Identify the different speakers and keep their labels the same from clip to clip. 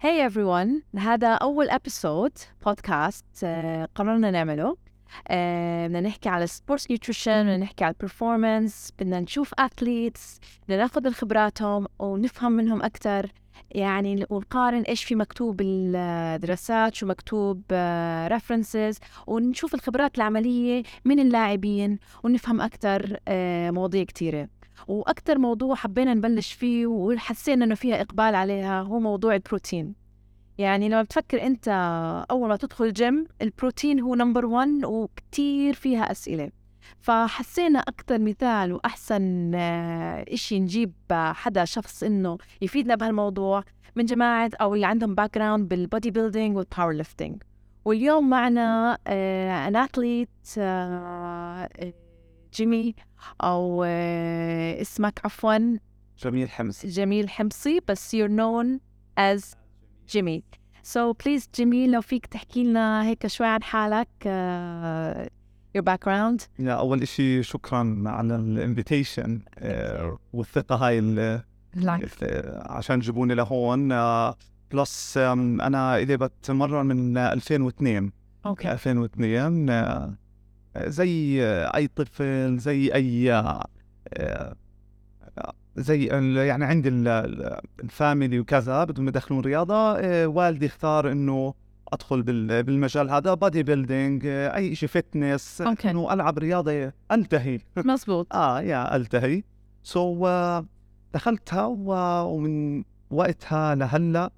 Speaker 1: Hey everyone هذا أول ابيسود بودكاست آه، قررنا نعمله آه، بدنا نحكي على سبورتس نيوتريشن بدنا نحكي على البرفورمانس بدنا نشوف اثليتس بدنا ناخذ من خبراتهم ونفهم منهم أكثر يعني ونقارن ايش في مكتوب بالدراسات شو مكتوب ريفرنسز ونشوف الخبرات العمليه من اللاعبين ونفهم اكثر مواضيع كثيره واكثر موضوع حبينا نبلش فيه وحسينا انه فيها اقبال عليها هو موضوع البروتين يعني لما بتفكر انت اول ما تدخل جيم البروتين هو نمبر 1 وكتير فيها اسئله فحسينا اكثر مثال واحسن آه، إشي نجيب آه، حدا شخص انه يفيدنا بهالموضوع من جماعه او اللي عندهم باك جراوند بالبودي بيلدينج والباور ليفتنج واليوم معنا آه، ان اثليت آه، جيمي او آه، اسمك عفوا
Speaker 2: جميل حمص
Speaker 1: جميل حمصي بس you're known as جيمي so please جيمي لو فيك تحكي لنا هيك شوي عن حالك آه، your background
Speaker 2: لا اول إشي شكرا على الانفيتيشن والثقه هاي ال- آه، عشان جيبوني لهون آه، بلس انا الي بتمرن من 2002
Speaker 1: اوكي
Speaker 2: 2002 آه، زي آه، اي طفل زي اي آه، آه، زي ال- يعني عندي ال- ال- الفاميلي وكذا بدهم يدخلون رياضه آه، والدي اختار انه ادخل بال- بالمجال هذا بادي بيلدينج آه، اي شيء فتنس
Speaker 1: أوكي.
Speaker 2: انه العب رياضه التهي
Speaker 1: مزبوط
Speaker 2: اه يا التهي سو so, uh, دخلتها و... ومن وقتها لهلا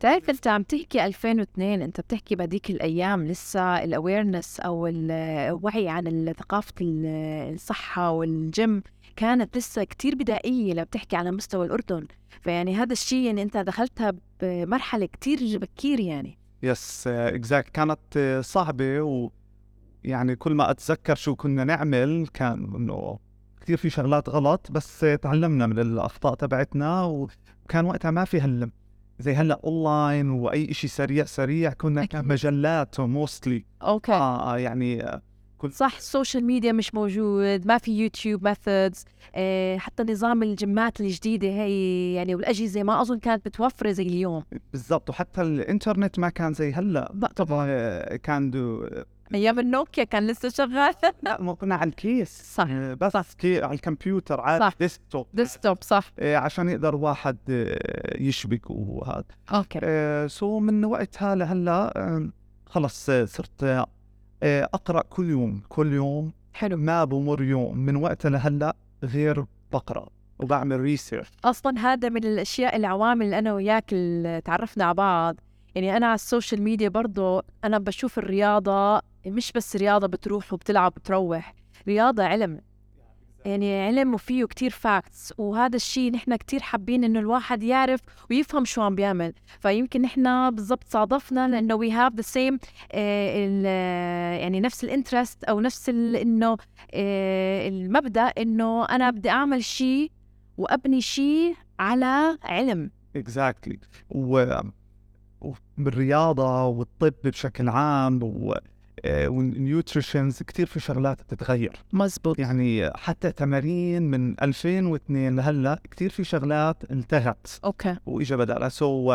Speaker 1: تعرف انت عم تحكي 2002 انت بتحكي بهديك الايام لسه الاويرنس او الوعي عن ال- ثقافه ال- الصحه والجيم كانت لسه كتير بدائيه لو بتحكي على مستوى الاردن فيعني هذا الشيء يعني انت دخلتها بمرحله كتير بكير يعني
Speaker 2: يس اكزاكت كانت آه، صعبه ويعني كل ما اتذكر شو كنا نعمل كان انه كثير في شغلات غلط بس آه، تعلمنا من الاخطاء تبعتنا وكان وقتها ما في هال زي هلا اونلاين واي شيء سريع سريع كنا
Speaker 1: أكيد. طيب.
Speaker 2: كان مجلات موستلي
Speaker 1: اوكي
Speaker 2: اه آه، يعني آه، كل
Speaker 1: صح السوشيال ميديا مش موجود ما في يوتيوب ميثودز اه حتى نظام الجيمات الجديده هي يعني والاجهزه ما اظن كانت متوفره زي اليوم
Speaker 2: بالضبط وحتى الانترنت ما كان زي هلا طبعا آه، كان دو
Speaker 1: ايام النوكيا كان لسه شغال
Speaker 2: لا ما كنا على الكيس
Speaker 1: صح
Speaker 2: آه، بس
Speaker 1: صح.
Speaker 2: كي على الكمبيوتر على
Speaker 1: صح.
Speaker 2: الديسكتوب
Speaker 1: ديسكتوب صح
Speaker 2: آه، عشان يقدر واحد آه، يشبك وهذا
Speaker 1: اوكي
Speaker 2: آه، سو من وقتها لهلا آه، خلص آه، صرت آه، آه، اقرا كل يوم كل يوم
Speaker 1: حلو
Speaker 2: ما بمر يوم من وقتها لهلا غير بقرا وبعمل ريسيرش
Speaker 1: اصلا هذا من الاشياء العوامل اللي انا وياك اللي تعرفنا على بعض يعني انا على السوشيال ميديا برضو انا بشوف الرياضه مش بس رياضه بتروح وبتلعب وبتروح رياضه علم يعني علم وفيه كتير فاكتس وهذا الشيء نحن كتير حابين انه الواحد يعرف ويفهم شو عم بيعمل فيمكن نحن بالضبط صادفنا لانه وي هاف ذا سيم آه، يعني نفس الانترست او نفس ال- انه آه، المبدا انه انا بدي اعمل شيء وابني شيء على علم
Speaker 2: اكزاكتلي وبالرياضه والطب بشكل عام و والنيوتريشنز كثير في شغلات بتتغير
Speaker 1: مزبوط
Speaker 2: يعني حتى تمارين من 2002 لهلا كثير في شغلات انتهت
Speaker 1: اوكي
Speaker 2: واجا بدلها سو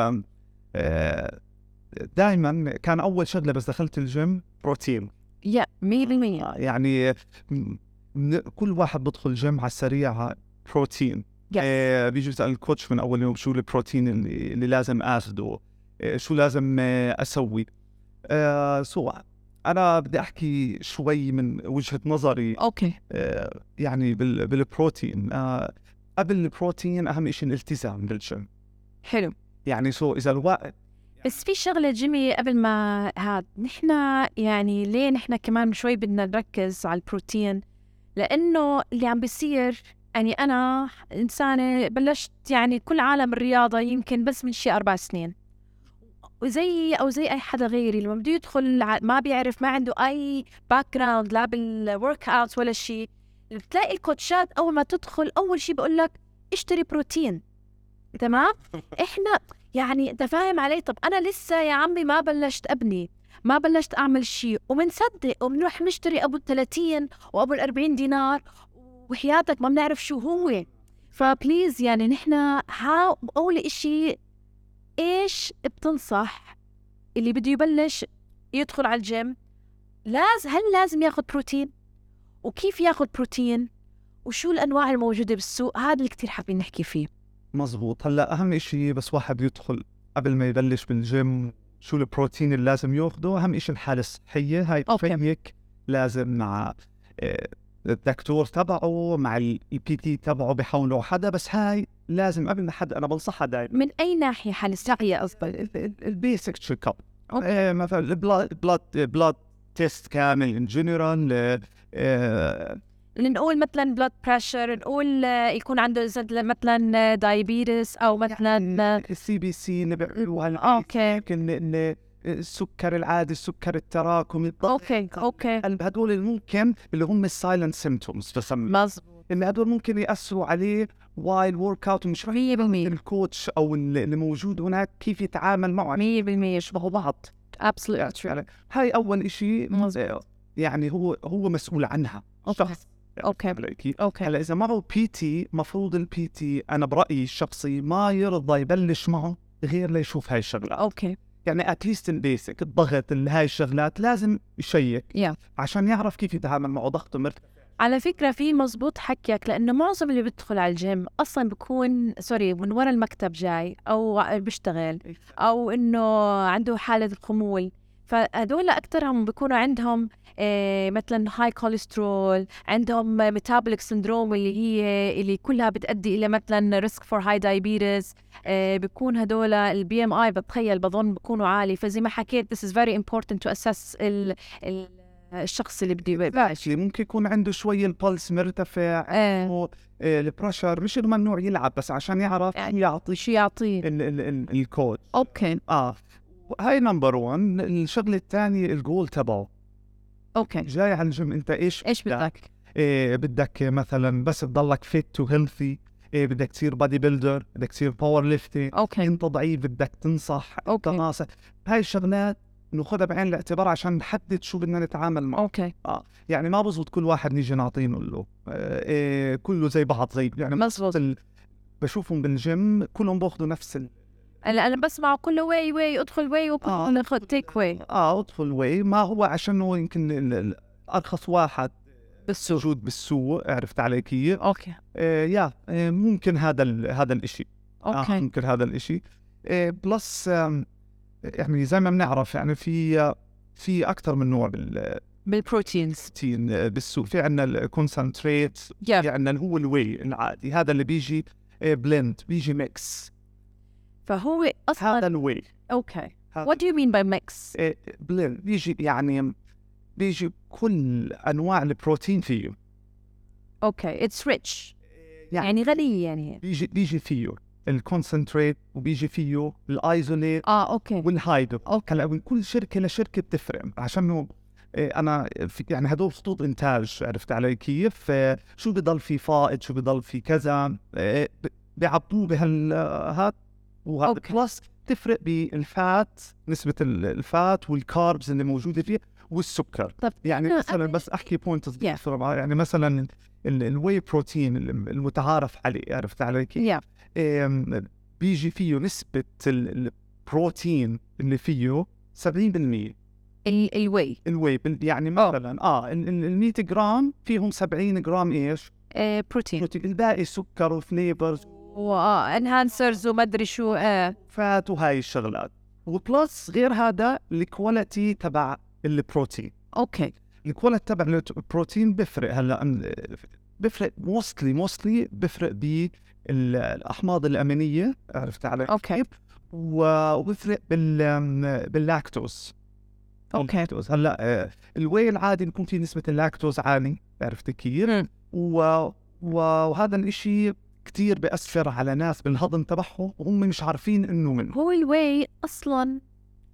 Speaker 2: دائما آه، كان اول شغله بس دخلت الجيم بروتين
Speaker 1: يا 100%
Speaker 2: آه، يعني م- من- كل واحد بدخل جيم على السريع آه، بروتين
Speaker 1: Yes.
Speaker 2: آه، بيجي يسال الكوتش من اول يوم شو البروتين اللي, اللي لازم اخذه آه، شو لازم آه، اسوي آه، سو انا بدي احكي شوي من وجهه نظري
Speaker 1: اوكي
Speaker 2: آه، يعني بال- بالبروتين آه، قبل البروتين اهم شيء الالتزام بالجيم
Speaker 1: حلو
Speaker 2: يعني سو اذا الوقت
Speaker 1: بس في شغلة جيمي قبل ما هاد نحن يعني ليه نحن كمان شوي بدنا نركز على البروتين لأنه اللي عم بيصير يعني أنا إنسانة بلشت يعني كل عالم الرياضة يمكن بس من شي أربع سنين وزي أو زي أي حدا غيري لما بده يدخل ع- ما بيعرف ما عنده أي باك جراوند لا بالورك أوت ولا شي بتلاقي الكوتشات أول ما تدخل أول شي بقول لك اشتري بروتين تمام احنا يعني انت فاهم علي طب انا لسه يا عمي ما بلشت ابني ما بلشت اعمل شيء وبنصدق وبنروح نشتري ابو ال 30 وابو ال 40 دينار وحياتك ما بنعرف شو هو فبليز يعني نحن هاو اول إشي ايش بتنصح اللي بده يبلش يدخل على الجيم لازم هل لازم ياخذ بروتين وكيف ياخذ بروتين وشو الانواع الموجوده بالسوق هذا اللي كثير حابين نحكي فيه
Speaker 2: مزبوط هلا اهم شيء بس واحد يدخل قبل ما يبلش بالجيم شو البروتين اللي لازم ياخده اهم شيء الحاله الصحيه هاي
Speaker 1: أوكي.
Speaker 2: فيك لازم مع آه، الدكتور تبعه مع البي تي تبعه بحاولوا حدا بس هاي لازم قبل ما حد انا بنصحها دائما
Speaker 1: من اي ناحيه حاله صحيه قصدك
Speaker 2: البيسك تشيك اب
Speaker 1: أوكي.
Speaker 2: إيه، مثلا البلاد بلاد بلاد تيست كامل آه، ان جنرال آه،
Speaker 1: نقول مثلا بلاد بريشر نقول آه، يكون عنده زد- مثلا دايبيتس او
Speaker 2: يعني
Speaker 1: مثلا
Speaker 2: السي بي سي نبيعوها
Speaker 1: اوكي
Speaker 2: يمكن السكر العادي السكر التراكمي يعني
Speaker 1: اوكي اوكي
Speaker 2: هل- هدول اللي ممكن اللي هم السايلنت سيمتومز بسمى
Speaker 1: مظبوط
Speaker 2: ان هدول ممكن ياثروا عليه وايل ورك اوت ومش رح
Speaker 1: 100%
Speaker 2: الكوتش او اللي اللي موجود هناك كيف يتعامل معه
Speaker 1: 100%
Speaker 2: يشبهوا بعض
Speaker 1: absolutely true
Speaker 2: هاي اول شيء
Speaker 1: مظبوط.
Speaker 2: يعني هو هو مسؤول عنها
Speaker 1: اوكي
Speaker 2: شخص
Speaker 1: اوكي
Speaker 2: عليكي
Speaker 1: اوكي
Speaker 2: هلا اذا معه بي تي مفروض البي تي انا برايي الشخصي ما يرضى يبلش معه غير ليشوف هاي الشغلات
Speaker 1: اوكي
Speaker 2: يعني اتليست البيسك الضغط ال- هاي الشغلات لازم يشيك
Speaker 1: Yeah.
Speaker 2: عشان يعرف كيف يتعامل معه ضغطه مرتفع
Speaker 1: على فكرة في مزبوط حكيك لأنه معظم اللي بيدخل على الجيم أصلا بيكون سوري من ورا المكتب جاي أو بيشتغل أو إنه عنده حالة الخمول فهدول أكثرهم بيكونوا عندهم إيه مثلا هاي كوليسترول عندهم ميتابوليك سندروم اللي هي اللي كلها بتأدي إلى مثلا ريسك فور هاي دايبيتس آه، بيكون هدول البي ام اي بتخيل بظن بيكونوا عالي فزي ما حكيت this is very important to assess ال ال الشخص اللي بده يبلش
Speaker 2: اللي ممكن يكون عنده شوي البلس مرتفع آه،
Speaker 1: ايه
Speaker 2: البريشر مش إنه ممنوع يلعب بس عشان يعرف
Speaker 1: يعني
Speaker 2: يعطي
Speaker 1: شو يعطيه
Speaker 2: ال- ال- ال- الكود
Speaker 1: اوكي
Speaker 2: اه هاي نمبر 1 الشغله الثانيه الجول تبعه
Speaker 1: اوكي
Speaker 2: جاي على الجيم انت ايش
Speaker 1: ايش بدك؟
Speaker 2: إيه بدك مثلا بس تضلك فيت وهيلثي إيه بدك تصير بادي بيلدر بدك تصير باور ليفتنج
Speaker 1: اوكي
Speaker 2: انت ضعيف بدك تنصح
Speaker 1: أوكي.
Speaker 2: تناصح هاي الشغلات ناخذها بعين الاعتبار عشان نحدد شو بدنا نتعامل معه
Speaker 1: اوكي
Speaker 2: يعني ما بزبط كل واحد نيجي نعطيه نقول له آه، إيه كله زي بعض زي يعني
Speaker 1: مزبوط
Speaker 2: ال- بشوفهم بالجيم كلهم باخذوا نفس ال...
Speaker 1: هلا انا بسمع كله واي واي ادخل واي
Speaker 2: آه.
Speaker 1: وكله خذ تيك واي
Speaker 2: اه ادخل واي ما هو عشان هو يمكن ال- ال- ارخص واحد
Speaker 1: بالسوق
Speaker 2: موجود بالسوق عرفت علي كيف؟
Speaker 1: اوكي
Speaker 2: آه يا آه ممكن هذا ال- هذا الاشي آه
Speaker 1: اوكي
Speaker 2: ممكن هذا الاشي آه بلس آم، يعني زي ما بنعرف يعني في في اكثر من نوع بالبروتين
Speaker 1: بالبروتينز
Speaker 2: آه، بالسوق في عندنا الكونسنتريت في
Speaker 1: يا
Speaker 2: عندنا يعني هو الواي العادي هذا اللي بيجي بلند بيجي ميكس
Speaker 1: فهو اصلا
Speaker 2: هذا الواي
Speaker 1: اوكي وات دو يو مين باي ميكس
Speaker 2: بلند بيجي يعني بيجي كل انواع البروتين فيه
Speaker 1: اوكي اتس ريتش
Speaker 2: يعني
Speaker 1: يعني غني يعني
Speaker 2: بيجي بيجي فيه الكونسنتريت وبيجي فيه الايزوليت
Speaker 1: اه اوكي
Speaker 2: والهايدر هلا من كل شركه لشركه بتفرق عشان إنه، إيه، انا في يعني هدول خطوط انتاج عرفت علي كيف إيه، شو بضل في فائض شو بضل في كذا إيه، ب- بيعبوه بهال هاد وهذا
Speaker 1: أوكي.
Speaker 2: بلس تفرق بالفات نسبه ال- الفات والكاربز اللي موجوده فيه والسكر
Speaker 1: طب
Speaker 2: يعني
Speaker 1: أنا
Speaker 2: مثلا
Speaker 1: قبل-
Speaker 2: بس احكي بوينت
Speaker 1: Yeah.
Speaker 2: يعني مثلا الواي بروتين المتعارف عليه عرفت علي كيف
Speaker 1: يا
Speaker 2: إم، بيجي فيه نسبة ال- البروتين اللي فيه 70%
Speaker 1: الواي
Speaker 2: الواي بال- يعني مثلا اه ال ال- ال 100 جرام فيهم 70 جرام ايش؟
Speaker 1: آه، بروتين
Speaker 2: بروتين الباقي سكر وفليفرز
Speaker 1: وانهانسرز آه، وما ادري شو آه.
Speaker 2: فات وهاي الشغلات وبلس غير هذا الكواليتي تبع البروتين
Speaker 1: اوكي
Speaker 2: الكواليتي تبع البروتين بفرق هلا أم- بفرق موستلي موستلي بفرق بالاحماض الامينيه عرفت علي؟
Speaker 1: اوكي
Speaker 2: و- وبفرق بال باللاكتوز
Speaker 1: اوكي
Speaker 2: اللاكتوز هلا آه، الواي العادي بيكون فيه نسبه اللاكتوز عالي عرفت كيف؟
Speaker 1: مم.
Speaker 2: و... و... وهذا الاشي كتير بأثر على ناس بالهضم تبعهم وهم مش عارفين انه منه
Speaker 1: هو الواي اصلا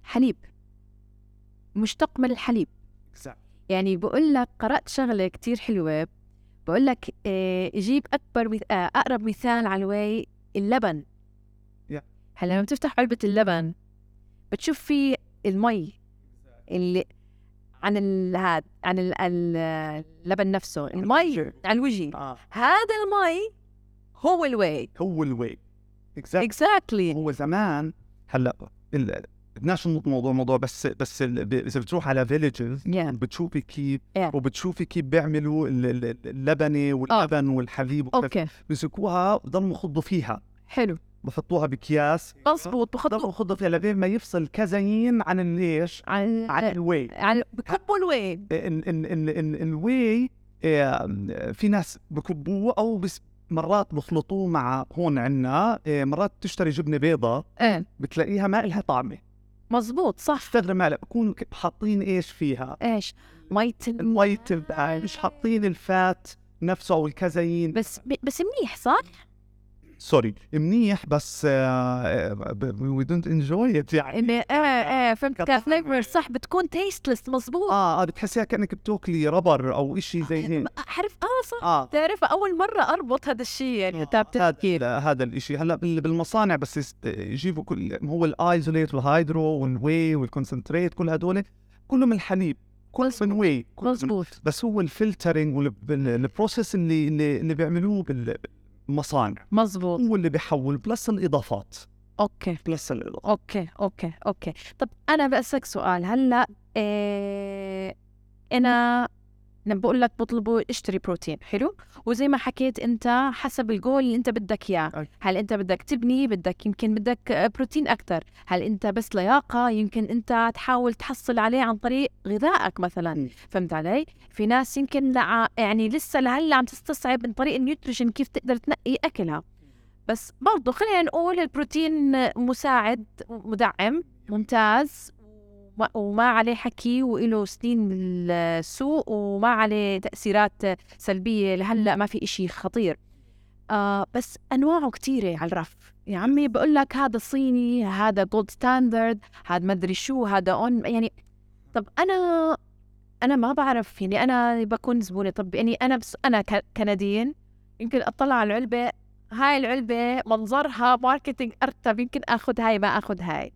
Speaker 1: حليب مشتق من الحليب يعني بقول لك قرات شغله كتير حلوه بقول لك آه، جيب اكبر مث- آه، اقرب مثال على الواي اللبن
Speaker 2: Yeah.
Speaker 1: هلا لما بتفتح علبه اللبن بتشوف فيه المي اللي عن ال- هاد عن ال- ال- اللبن نفسه المي على الوجه
Speaker 2: آه.
Speaker 1: هذا المي هو الواي
Speaker 2: هو الواي اكزاكتلي
Speaker 1: اكزاكتلي
Speaker 2: هو زمان هلا ال- بدناش نمط موضوع موضوع بس بس ال- ب- اذا بتروح على فيليجز
Speaker 1: yeah.
Speaker 2: بتشوفي كيف
Speaker 1: Yeah. آه.
Speaker 2: وبتشوفي كيف بيعملوا ال- ال- اللبنه واللبن والحليب وكذا.
Speaker 1: اوكي
Speaker 2: بيسكوها بضلوا يخضوا فيها
Speaker 1: حلو
Speaker 2: بحطوها باكياس
Speaker 1: مزبوط
Speaker 2: بضلوا
Speaker 1: بحطوا
Speaker 2: يخضوا فيها لبين ما يفصل الكازايين عن الايش؟
Speaker 1: عن
Speaker 2: عن الواي
Speaker 1: عن بكبوا الوين
Speaker 2: ال- ال- ال- ال- الواي آه، في ناس بكبوه او بس مرات بخلطوه مع هون عنا آه، مرات تشتري جبنه بيضة
Speaker 1: ايه
Speaker 2: بتلاقيها ما لها طعمه
Speaker 1: مزبوط صح
Speaker 2: تستغرب هلا بكونوا ك- حاطين ايش فيها
Speaker 1: ايش ميت ال-
Speaker 2: المي تبعها مش حاطين الفات نفسه او الكازايين
Speaker 1: بس بس منيح صح؟
Speaker 2: سوري منيح بس آه، وي دونت انجوي يعني
Speaker 1: انه ايه ايه فهمت
Speaker 2: كطعم.
Speaker 1: كفليفر صح بتكون تيستلس مزبوط
Speaker 2: اه اه بتحسيها كانك بتاكلي ربر او إشي زي هيك
Speaker 1: حرف اه صح
Speaker 2: اه
Speaker 1: بتعرف اول مره اربط هذا الشيء يعني تاب تفكير
Speaker 2: آه، هذا هذا الشيء هلا بال- بالمصانع بس يس- يجيبوا كل هو الايزوليت والهايدرو والواي والكونسنتريت كل هدول كلهم الحليب كل من واي كل من-
Speaker 1: مزبوط
Speaker 2: بس هو الفلترنج والبروسيس اللي اللي, اللي بيعملوه بال- بالمصانع
Speaker 1: مزبوط
Speaker 2: هو اللي بيحول بلس الاضافات
Speaker 1: اوكي
Speaker 2: بلس الاضافات
Speaker 1: اوكي اوكي اوكي طب انا بسألك سؤال هلا إيه انا لما بقول لك بطلبوا اشتري بروتين حلو وزي ما حكيت انت حسب الجول اللي انت بدك اياه
Speaker 2: أي.
Speaker 1: هل انت بدك تبني بدك يمكن بدك آه، بروتين اكثر هل انت بس لياقه يمكن انت تحاول تحصل عليه عن طريق غذائك مثلا
Speaker 2: م.
Speaker 1: فهمت علي في ناس يمكن لع... يعني لسه لهلا عم تستصعب من طريق النيوتريشن كيف تقدر تنقي اكلها بس برضه خلينا نقول البروتين مساعد مدعم ممتاز وما- وما عليه حكي وله سنين بالسوق وما عليه تأثيرات سلبية لهلا ما في إشي خطير آه بس أنواعه كتيرة على الرف يا عمي بقول لك هذا صيني هذا جولد ستاندرد هذا ما أدري شو هذا أون يعني طب أنا أنا ما بعرف يعني أنا بكون زبونة طب يعني أنا بس أنا ك- كنديين يمكن أطلع على العلبة هاي العلبة منظرها ماركتينج أرتب يمكن أخذ هاي ما أخذ هاي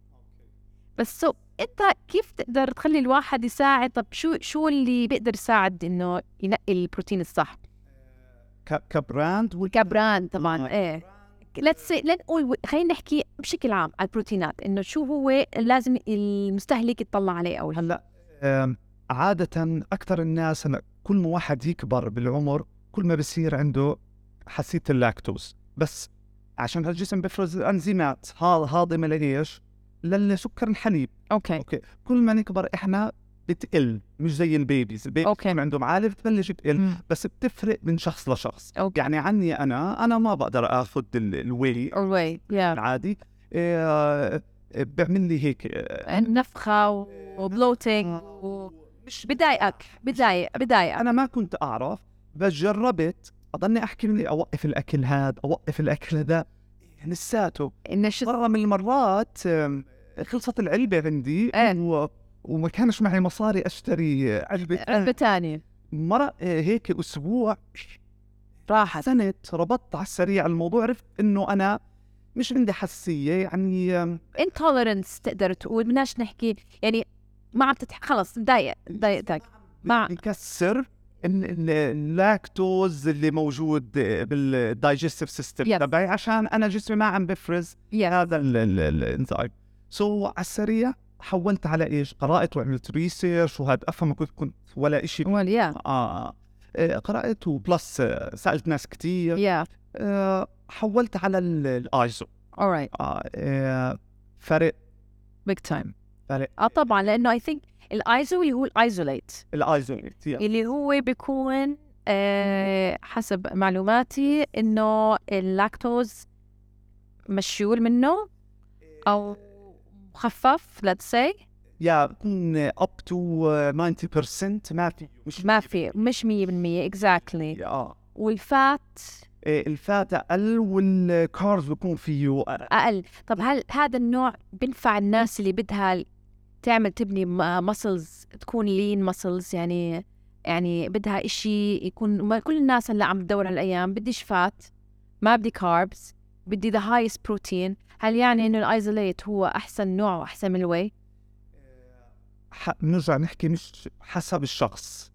Speaker 1: بس سو انت كيف تقدر تخلي الواحد يساعد طب شو شو اللي بيقدر يساعد انه ينقي البروتين الصح
Speaker 2: ك- كبراند وال-
Speaker 1: كبراند طبعا
Speaker 2: آه.
Speaker 1: ايه لتس لنقول خلينا نحكي بشكل عام على البروتينات انه شو هو لازم المستهلك يطلع عليه اول
Speaker 2: هلا آم، عادة أكثر الناس هلا كل ما واحد يكبر بالعمر كل ما بصير عنده حساسية اللاكتوز بس عشان هالجسم بيفرز أنزيمات ها- هاضمة لإيش؟ للسكر الحليب
Speaker 1: اوكي
Speaker 2: أوكي كل ما نكبر إحنا بتقل مش زي البيبيز البيبيز
Speaker 1: أوكي.
Speaker 2: بيكون عندهم عالي بتبلش تقل
Speaker 1: مم.
Speaker 2: بس بتفرق من شخص لشخص
Speaker 1: اوكي
Speaker 2: يعني عني أنا أنا ما بقدر آخذ ال- الواي
Speaker 1: اول يا
Speaker 2: العادي إيه، آه، بيعمل لي هيك آه،
Speaker 1: نفخه وبلوتينج ومش بضايقك بضايق بضايقك
Speaker 2: انا ما كنت اعرف بس جربت اضلني احكي من اوقف الاكل هذا اوقف الاكل هذا لساته
Speaker 1: انه شو
Speaker 2: مره من المرات أم، خلصت العلبه عندي
Speaker 1: إيه.
Speaker 2: و... وما كانش معي مصاري اشتري علبه
Speaker 1: إيه، علبة تانية
Speaker 2: مره آه، هيك اسبوع
Speaker 1: راحت
Speaker 2: حسنت ربطت على السريع الموضوع عرفت انه انا مش عندي حساسيه يعني أم،
Speaker 1: انتولرنس تقدر تقول بدناش نحكي يعني ما عم تتح... خلص مضايق مضايقتك مع-
Speaker 2: بكسر ال- ال- اللاكتوز اللي موجود بالدايجستيف سيستم
Speaker 1: Yes.
Speaker 2: تبعي عشان انا جسمي ما عم بفرز
Speaker 1: يا
Speaker 2: هذا ال- ال- الانزايم سو على السريع حولت على ايش؟ قرات وعملت ريسيرش وهذا افهم كنت كنت ولا شيء
Speaker 1: يا
Speaker 2: آه. آه، قرات وبلس آه، سالت ناس كثير
Speaker 1: يا
Speaker 2: حولت على ال- الايزو
Speaker 1: alright
Speaker 2: آه. آه. فرق
Speaker 1: big time
Speaker 2: فرق
Speaker 1: اه طبعا لانه اي ثينك الايزو اللي هو الايزوليت
Speaker 2: الايزو
Speaker 1: اللي هو بيكون آه حسب معلوماتي انه اللاكتوز مشيول منه او مخفف let's say
Speaker 2: يا بكون اب تو 90% ما في مش
Speaker 1: ما في مش 100% exactly
Speaker 2: اه
Speaker 1: والفات
Speaker 2: آه، الفات اقل والكارز بكون فيه أقل.
Speaker 1: اقل طب هل هذا النوع بينفع الناس اللي بدها تعمل تبني مسلز تكون لين مسلز يعني يعني بدها إشي يكون ما كل الناس هلا عم تدور هالايام بدي شفات ما بدي كاربس بدي ذا هايست بروتين هل يعني انه الايزوليت هو احسن نوع واحسن من الواي
Speaker 2: ح- نرجع نحكي مش حسب الشخص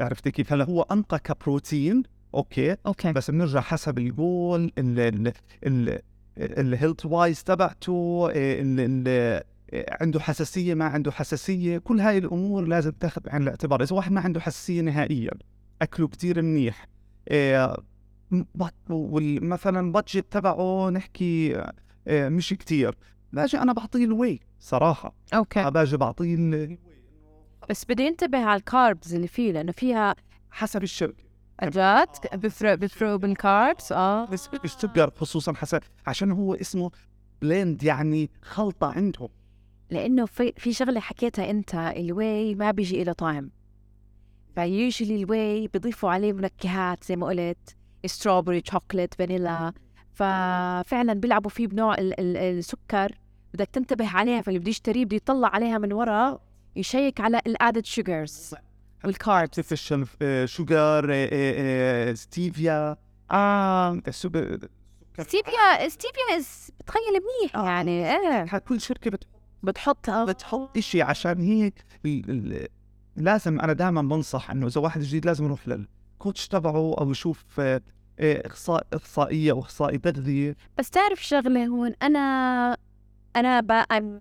Speaker 2: عرفتي كيف هلا هو انقى كبروتين اوكي
Speaker 1: اوكي
Speaker 2: بس بنرجع حسب الجول ال ال ال الهيلث وايز تبعته آه، ال- ال- عنده حساسيه ما عنده حساسيه كل هاي الامور لازم تاخذ بعين الاعتبار اذا واحد ما عنده حساسيه نهائيا اكله كتير منيح إيه، م- بط- وال- مثلا بادجت تبعه نحكي إيه، مش كتير باجي انا بعطيه الواي صراحه
Speaker 1: اوكي
Speaker 2: باجي بعطيه ال-
Speaker 1: بس بدي انتبه على الكاربز اللي فيه لانه فيها
Speaker 2: حسب الشركه
Speaker 1: جات بفرق بفرق بالكاربس اه
Speaker 2: آه. بس السكر خصوصا حسب عشان هو اسمه بلند يعني خلطه عندهم
Speaker 1: لانه في, في شغله حكيتها انت الواي ما بيجي له طعم فيوجلي الواي بيضيفوا عليه منكهات زي ما قلت ستروبري شوكليت فانيلا ففعلا بيلعبوا فيه بنوع ال- ال- السكر بدك تنتبه عليها فاللي بده يشتريه بده يطلع عليها من ورا يشيك على الادد شوجرز والكاربس
Speaker 2: artificial آه، sugar آه، آه، آه، ستيفيا اه السوبر
Speaker 1: ستيفيا ستيفيا is- بتخيل منيح يعني ايه
Speaker 2: كل شركه بت-
Speaker 1: بتحط آه،
Speaker 2: بتحط إشي عشان هي ال- ال- لازم انا دائما بنصح انه اذا واحد جديد لازم يروح للكوتش تبعه او يشوف آه، آه، اخصائي اخصائيه او اخصائي تغذيه
Speaker 1: بس تعرف شغلة هون أنا أنا ب... I'm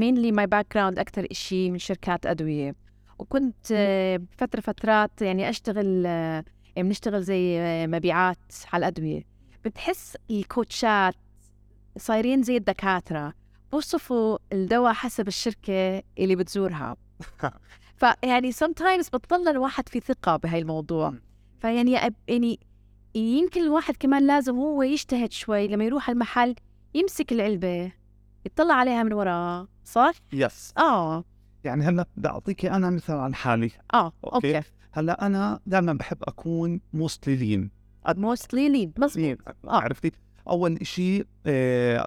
Speaker 1: mainly my background أكتر إشي من شركات أدوية وكنت آه، بفترة فترات يعني أشتغل آه، بنشتغل زي آه، مبيعات على الأدوية بتحس الكوتشات صايرين زي الدكاترة بوصفوا الدواء حسب الشركة اللي بتزورها فيعني sometimes بتضل الواحد في ثقة بهاي الموضوع فيعني يا أب- يعني يمكن الواحد كمان لازم هو يجتهد شوي لما يروح على المحل يمسك العلبة يطلع عليها من ورا صح؟
Speaker 2: يس
Speaker 1: اه
Speaker 2: يعني هلا بدي اعطيك انا مثال عن حالي
Speaker 1: اه
Speaker 2: أوكي.
Speaker 1: اوكي
Speaker 2: هلا انا دائما بحب اكون موستلي لين
Speaker 1: موستلي لين مظبوط
Speaker 2: عرفتي اول شيء آه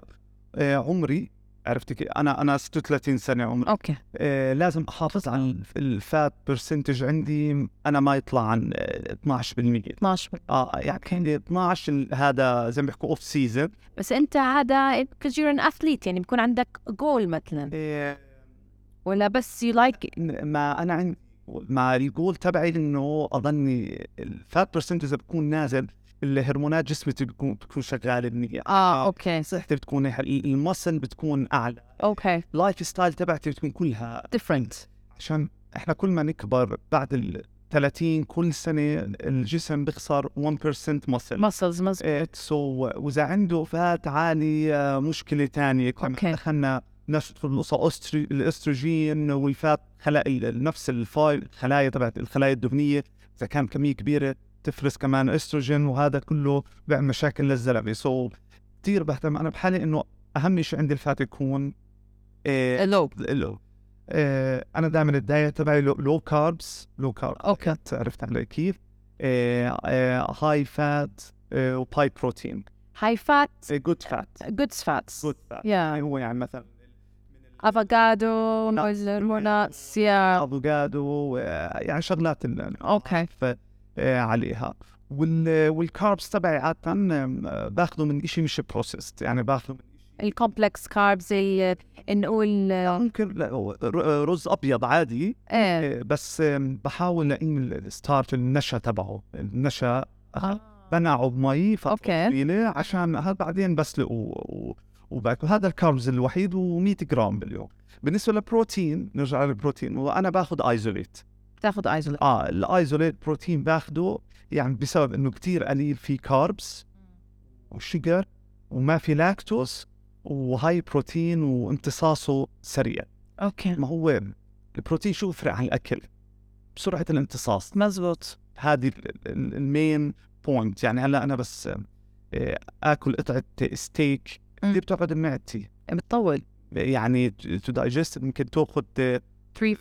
Speaker 2: آه عمري عرفتي كيف؟ انا انا 36 سنه عمري
Speaker 1: اوكي
Speaker 2: آه لازم احافظ على الف- الفات برسنتج عندي انا ما يطلع عن آه 12%
Speaker 1: 12
Speaker 2: اه يعني 12 ال- هذا زي ما بيحكوا اوف سيزون
Speaker 1: بس انت هذا because you're an athlete يعني بكون عندك جول مثلا ولا بس you like
Speaker 2: آه، ما انا عندي مع الجول تبعي انه اظني الفات برسنتج بكون نازل الهرمونات جسمتي بتكون بتكون شغاله منيح
Speaker 1: اه اوكي
Speaker 2: صحتي بتكون نايحة، المسل بتكون اعلى
Speaker 1: اوكي
Speaker 2: اللايف ستايل تبعتي بتكون كلها
Speaker 1: different
Speaker 2: عشان احنا كل ما نكبر بعد ال 30 كل سنه الجسم بيخسر 1% مسل
Speaker 1: muscles مظبوط
Speaker 2: سو واذا عنده فات عالي آه، مشكله ثانيه
Speaker 1: أوكي.
Speaker 2: دخلنا نشط في الأسا- أستري- الاستروجين والفات خلايا ال- نفس الفايل الخلايا تبعت الخلايا الدهنيه اذا كان كميه كبيره تفرز كمان استروجين وهذا كله بيعمل مشاكل للزلمه سو كثير بهتم انا بحالي انه اهم شيء عندي الفات يكون آه،
Speaker 1: لو
Speaker 2: له آه انا دائما الدايت تبعي لو كاربس لو كارب
Speaker 1: أوكي.
Speaker 2: عرفت علي كيف؟ آه، هاي فات وهاي بروتين
Speaker 1: high fat
Speaker 2: جود فات
Speaker 1: good fats
Speaker 2: جود فات
Speaker 1: yeah
Speaker 2: هو يعني مثلا
Speaker 1: افوكادو
Speaker 2: Nuts.
Speaker 1: والموناتس yeah
Speaker 2: افوكادو آه، يعني شغلات ال-
Speaker 1: اوكي
Speaker 2: ف- آه، عليها وال والكاربس تبعي عاده آه، باخذه من شيء مش بروسيست يعني باخذه من
Speaker 1: الكومبلكس كاربز زي نقول آه،
Speaker 2: ممكن لا، ر- آه، رز ابيض عادي
Speaker 1: ايه
Speaker 2: آه، بس آم، بحاول اقيم ال- الستارت النشا تبعه النشا آه. بنعه بمي فترة
Speaker 1: أوكي.
Speaker 2: طويلة عشان هذا بعدين بسلقه و- و- وباكل هذا الكاربز الوحيد و100 جرام باليوم بالنسبة للبروتين نرجع للبروتين وانا باخذ ايزوليت
Speaker 1: بتاخذ ايزوليت
Speaker 2: اه الايزوليت بروتين باخده يعني بسبب انه كتير قليل فيه كاربس وشجر وما في لاكتوز وهاي بروتين وامتصاصه سريع
Speaker 1: اوكي
Speaker 2: ما هو البروتين شو بفرق عن الاكل؟ بسرعه الامتصاص
Speaker 1: مزبوط
Speaker 2: هذه ال- ال- المين بوينت يعني هلا انا بس آه، اكل قطعه ستيك
Speaker 1: مم.
Speaker 2: اللي بتقعد بمعدتي
Speaker 1: بتطول
Speaker 2: يعني تو دايجست ممكن آه، تاخذ
Speaker 1: 3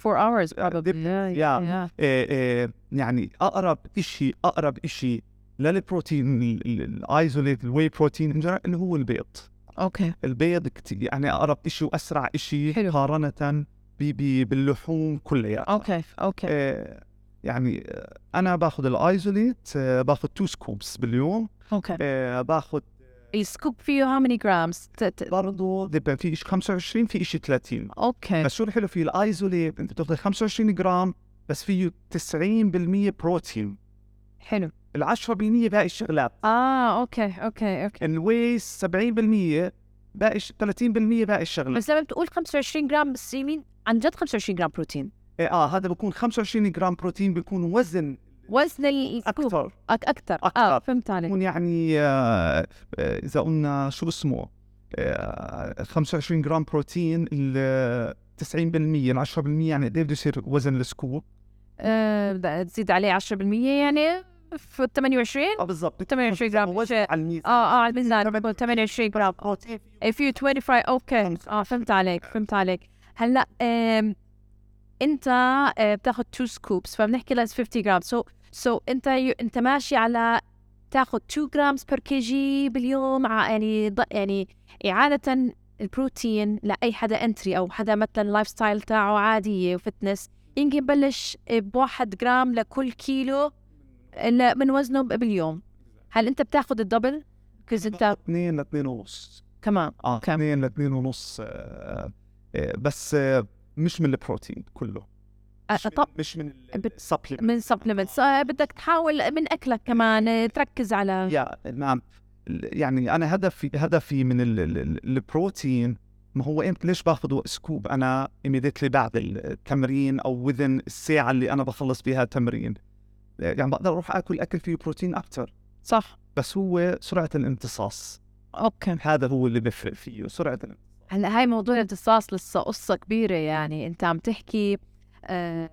Speaker 1: 4 hours
Speaker 2: Yeah,
Speaker 1: probably yeah,
Speaker 2: yeah. يعني اقرب شيء اقرب شيء للبروتين الايزوليت الواي بروتين اللي هو البيض
Speaker 1: اوكي
Speaker 2: البيض كتير يعني اقرب شيء واسرع شيء
Speaker 1: حلو.
Speaker 2: مقارنه ب- ب- باللحوم كلها
Speaker 1: اوكي اوكي
Speaker 2: آه، يعني آه، انا باخذ الايزوليت باخذ 2 سكوبس باليوم
Speaker 1: اوكي
Speaker 2: آه، باخذ
Speaker 1: السكوب فيه how many grams ت- ت-
Speaker 2: برضه دبن في شيء 25 في شيء 30
Speaker 1: طيب. اوكي
Speaker 2: بس شو الحلو فيه الايزوليت انت بتاخذ 25 جرام بس فيه 90% بروتين
Speaker 1: حلو
Speaker 2: العشرة بالمية باقي الشغلات
Speaker 1: اه اوكي اوكي اوكي
Speaker 2: الويس 70% باقي الش- 30% باقي الشغلات
Speaker 1: بس لما بتقول 25 جرام بس يمين عن جد 25 جرام بروتين
Speaker 2: إيه، اه هذا بكون 25 جرام بروتين بيكون وزن
Speaker 1: وزن السكوب
Speaker 2: اكثر
Speaker 1: أك اكثر اه
Speaker 2: أكتر.
Speaker 1: فهمت عليك
Speaker 2: بكون يعني آه، آه، اذا قلنا شو اسمه آه، 25 جرام بروتين ال 90% ال 10% يعني قد ايه بده يصير وزن السكوب؟
Speaker 1: آه بدها تزيد عليه 10% يعني في 28
Speaker 2: اه بالضبط
Speaker 1: 28 جرام
Speaker 2: وزن
Speaker 1: شيء.
Speaker 2: على آه، الميزان
Speaker 1: اه اه على الميزان
Speaker 2: تمن-
Speaker 1: بقول 28 جرام
Speaker 2: بروتين
Speaker 1: if you 25 اوكي اه فهمت عليك فهمت عليك هلا آم، انت آه، بتاخذ 2 سكوبس فبنحكي لازم 50 جرام سو سو انت يو- انت ماشي على تاخذ 2 جرامز بير كي جي باليوم ع- يعني ض- يعني اعاده البروتين لاي حدا انتري او حدا مثلا اللايف ستايل تاعه عاديه وفتنس يمكن يبلش بواحد جرام لكل كيلو ل- من وزنه ب- باليوم هل انت بتاخذ الدبل؟ كز انت
Speaker 2: 2 ل 2 ونص
Speaker 1: كمان
Speaker 2: اه
Speaker 1: كم؟
Speaker 2: 2 ل 2 ونص آه، آه، بس آه، مش من البروتين كله مش
Speaker 1: أط-
Speaker 2: من- مش من
Speaker 1: آه، بت-
Speaker 2: السبلمنت
Speaker 1: من سبلمنتس بدك تحاول من اكلك كمان آه، تركز على
Speaker 2: يا نعم يعني انا هدفي هدفي من ال- ال- ال- البروتين ما هو انت ليش باخذ سكوب انا immediately بعد التمرين او وذن الساعه اللي انا بخلص فيها تمرين يعني بقدر اروح اكل اكل فيه بروتين اكثر
Speaker 1: صح
Speaker 2: بس هو سرعه الامتصاص
Speaker 1: اوكي
Speaker 2: هذا هو اللي بفرق فيه سرعه الامتصاص
Speaker 1: هلا هاي موضوع الامتصاص لسه قصه كبيره يعني انت عم تحكي آه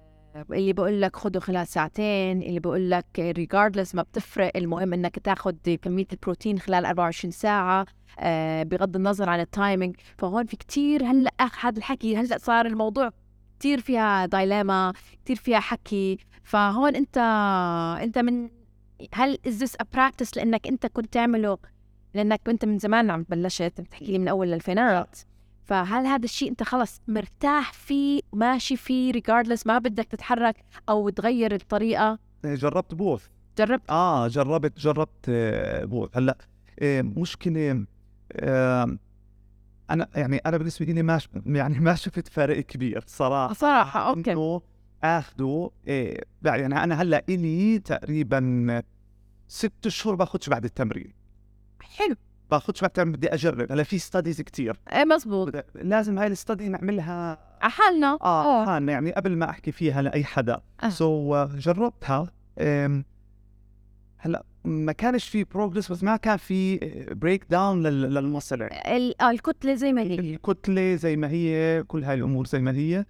Speaker 1: اللي بقول لك خده خلال ساعتين اللي بقول لك ريجاردلس ما بتفرق المهم انك تاخذ كميه البروتين خلال 24 ساعه آه بغض النظر عن التايمينج فهون في كتير هلا أخ- هذا الحكي هلا صار الموضوع كتير فيها دايلاما كتير فيها حكي فهون انت انت من هل از ذس ا براكتس لانك انت كنت تعمله لانك انت من زمان عم بلشت عم تحكي لي من اول الالفينات فهل هذا الشيء انت خلص مرتاح فيه ماشي فيه ريجاردلس ما بدك تتحرك او تغير الطريقه
Speaker 2: جربت بوث
Speaker 1: جربت
Speaker 2: اه جربت جربت آه، بو هلا آه، مشكله آه، انا يعني انا بالنسبه لي ما ش- يعني ما شفت فرق كبير
Speaker 1: آه.
Speaker 2: صراحه
Speaker 1: صراحه اوكي
Speaker 2: انه اخذه إيه يعني انا هلا الي تقريبا ست اشهر باخذش بعد التمرين
Speaker 1: حلو
Speaker 2: باخذش بعد التمرين بدي اجرب هلا في ستاديز كتير
Speaker 1: ايه مزبوط
Speaker 2: لازم هاي الستادي نعملها
Speaker 1: عحالنا
Speaker 2: اه كان يعني قبل ما احكي فيها لاي حدا
Speaker 1: آه.
Speaker 2: سو آه. so, جربتها أم، هلا ما كانش في بروجرس بس ما كان في آه، بريك داون للمصل
Speaker 1: ال- آه، الكتله زي ما هي
Speaker 2: الكتله زي ما هي كل هاي الامور زي ما هي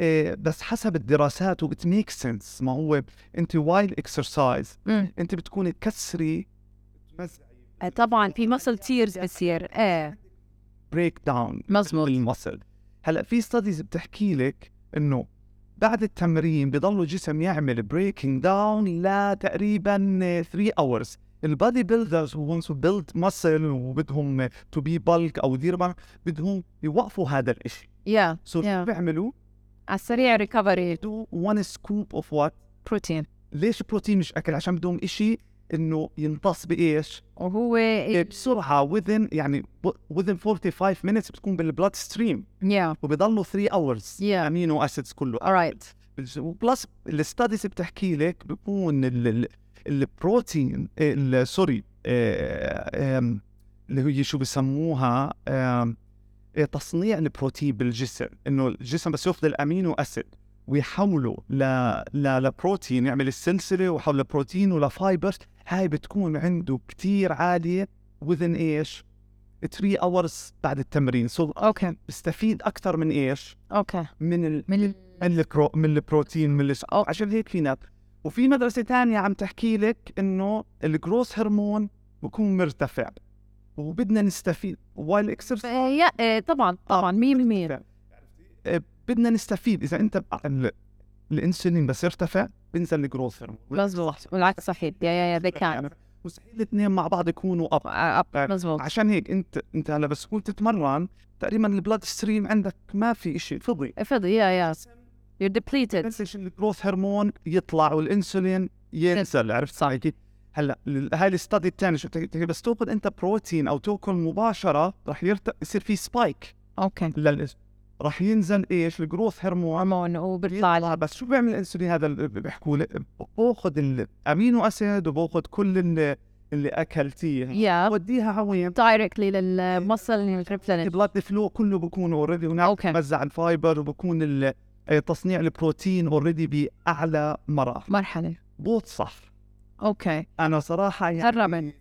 Speaker 2: إيه، بس حسب الدراسات وبتميك سنس ما هو انت وايل اكسرسايز
Speaker 1: مم.
Speaker 2: انت بتكوني تكسري
Speaker 1: آه، طبعا في مسل تيرز بتصير ايه
Speaker 2: بريك داون
Speaker 1: مزبوط.
Speaker 2: المصل هلا في ستاديز بتحكي لك انه بعد التمرين بضل الجسم يعمل بريكنج داون لتقريبا 3 اورز البادي بيلدرز وونس بيلد مسل وبدهم تو بي بالك او دير بالك بدهم يوقفوا هذا الشيء
Speaker 1: يا
Speaker 2: سو شو
Speaker 1: Yeah.
Speaker 2: بيعملوا
Speaker 1: على السريع ريكفري
Speaker 2: دو وان سكوب اوف وات
Speaker 1: بروتين
Speaker 2: ليش بروتين مش اكل عشان بدهم إشي انه يمتص بايش
Speaker 1: وهو
Speaker 2: بسرعه وذن يعني وذن 45 minutes بتكون بالبلاد ستريم
Speaker 1: يا
Speaker 2: وبضلوا 3 اورز
Speaker 1: Yeah.
Speaker 2: امينو اسيدز كله
Speaker 1: alright
Speaker 2: بلس الستاديز بتحكي لك بكون ال- ال- البروتين ال- سوري آه، آم، اللي هي شو بسموها آم، آه، تصنيع البروتين بالجسم انه الجسم بس ياخذ الامينو اسيد ويحوله ل... ل... لبروتين يعمل السلسله وحول بروتين ولفايبر هاي بتكون عنده كتير عاليه وذن ايش 3 اورز بعد التمرين سو
Speaker 1: اوكي
Speaker 2: بستفيد اكثر من ايش
Speaker 1: اوكي
Speaker 2: من ال...
Speaker 1: من
Speaker 2: من الكرو... من البروتين من الس... أو عشان هيك في ناس وفي مدرسه تانية عم تحكي لك انه الجروس هرمون بكون مرتفع وبدنا نستفيد وايل اكسرسايز
Speaker 1: آه، يا آه، طبعا طبعا 100%
Speaker 2: بدنا نستفيد اذا انت بقى ال... الانسولين بس ارتفع بنزل الجروث هرمون
Speaker 1: مزبوط والعكس صحيح يا يا يا ذكاء
Speaker 2: يعني مستحيل الاثنين مع بعض يكونوا اب
Speaker 1: اب مزبوط
Speaker 2: عشان هيك انت انت هلا بس كنت تتمرن تقريبا البلاد ستريم عندك ما في شيء فضي
Speaker 1: فضي يا يا يور ديبليتد
Speaker 2: بس عشان الجروث هرمون يطلع والانسولين ينزل عرفت صح كيف؟ هلا ال- هاي الستادي الثاني شو بتحكي بتحكي بس تاخذ انت بروتين او تاكل مباشره رح يرت... يصير في سبايك
Speaker 1: اوكي
Speaker 2: لل راح ينزل ايش الجروث هرمون
Speaker 1: هرمون وبيطلع
Speaker 2: يطلع
Speaker 1: لك
Speaker 2: بس شو بيعمل الانسولين هذا اللي بيحكوا لي باخذ الامينو اسيد وباخذ كل اللي, اللي اكلتيه
Speaker 1: يا
Speaker 2: بوديها على وين؟
Speaker 1: دايركتلي للمصل ريبلنت
Speaker 2: البلاد فلو كله بكون اوريدي هناك
Speaker 1: اوكي
Speaker 2: بتوزع الفايبر وبكون ال- آه، تصنيع البروتين اوريدي باعلى مراحل
Speaker 1: مرحله
Speaker 2: بوت صف
Speaker 1: اوكي
Speaker 2: انا صراحه يعني
Speaker 1: هالرمل.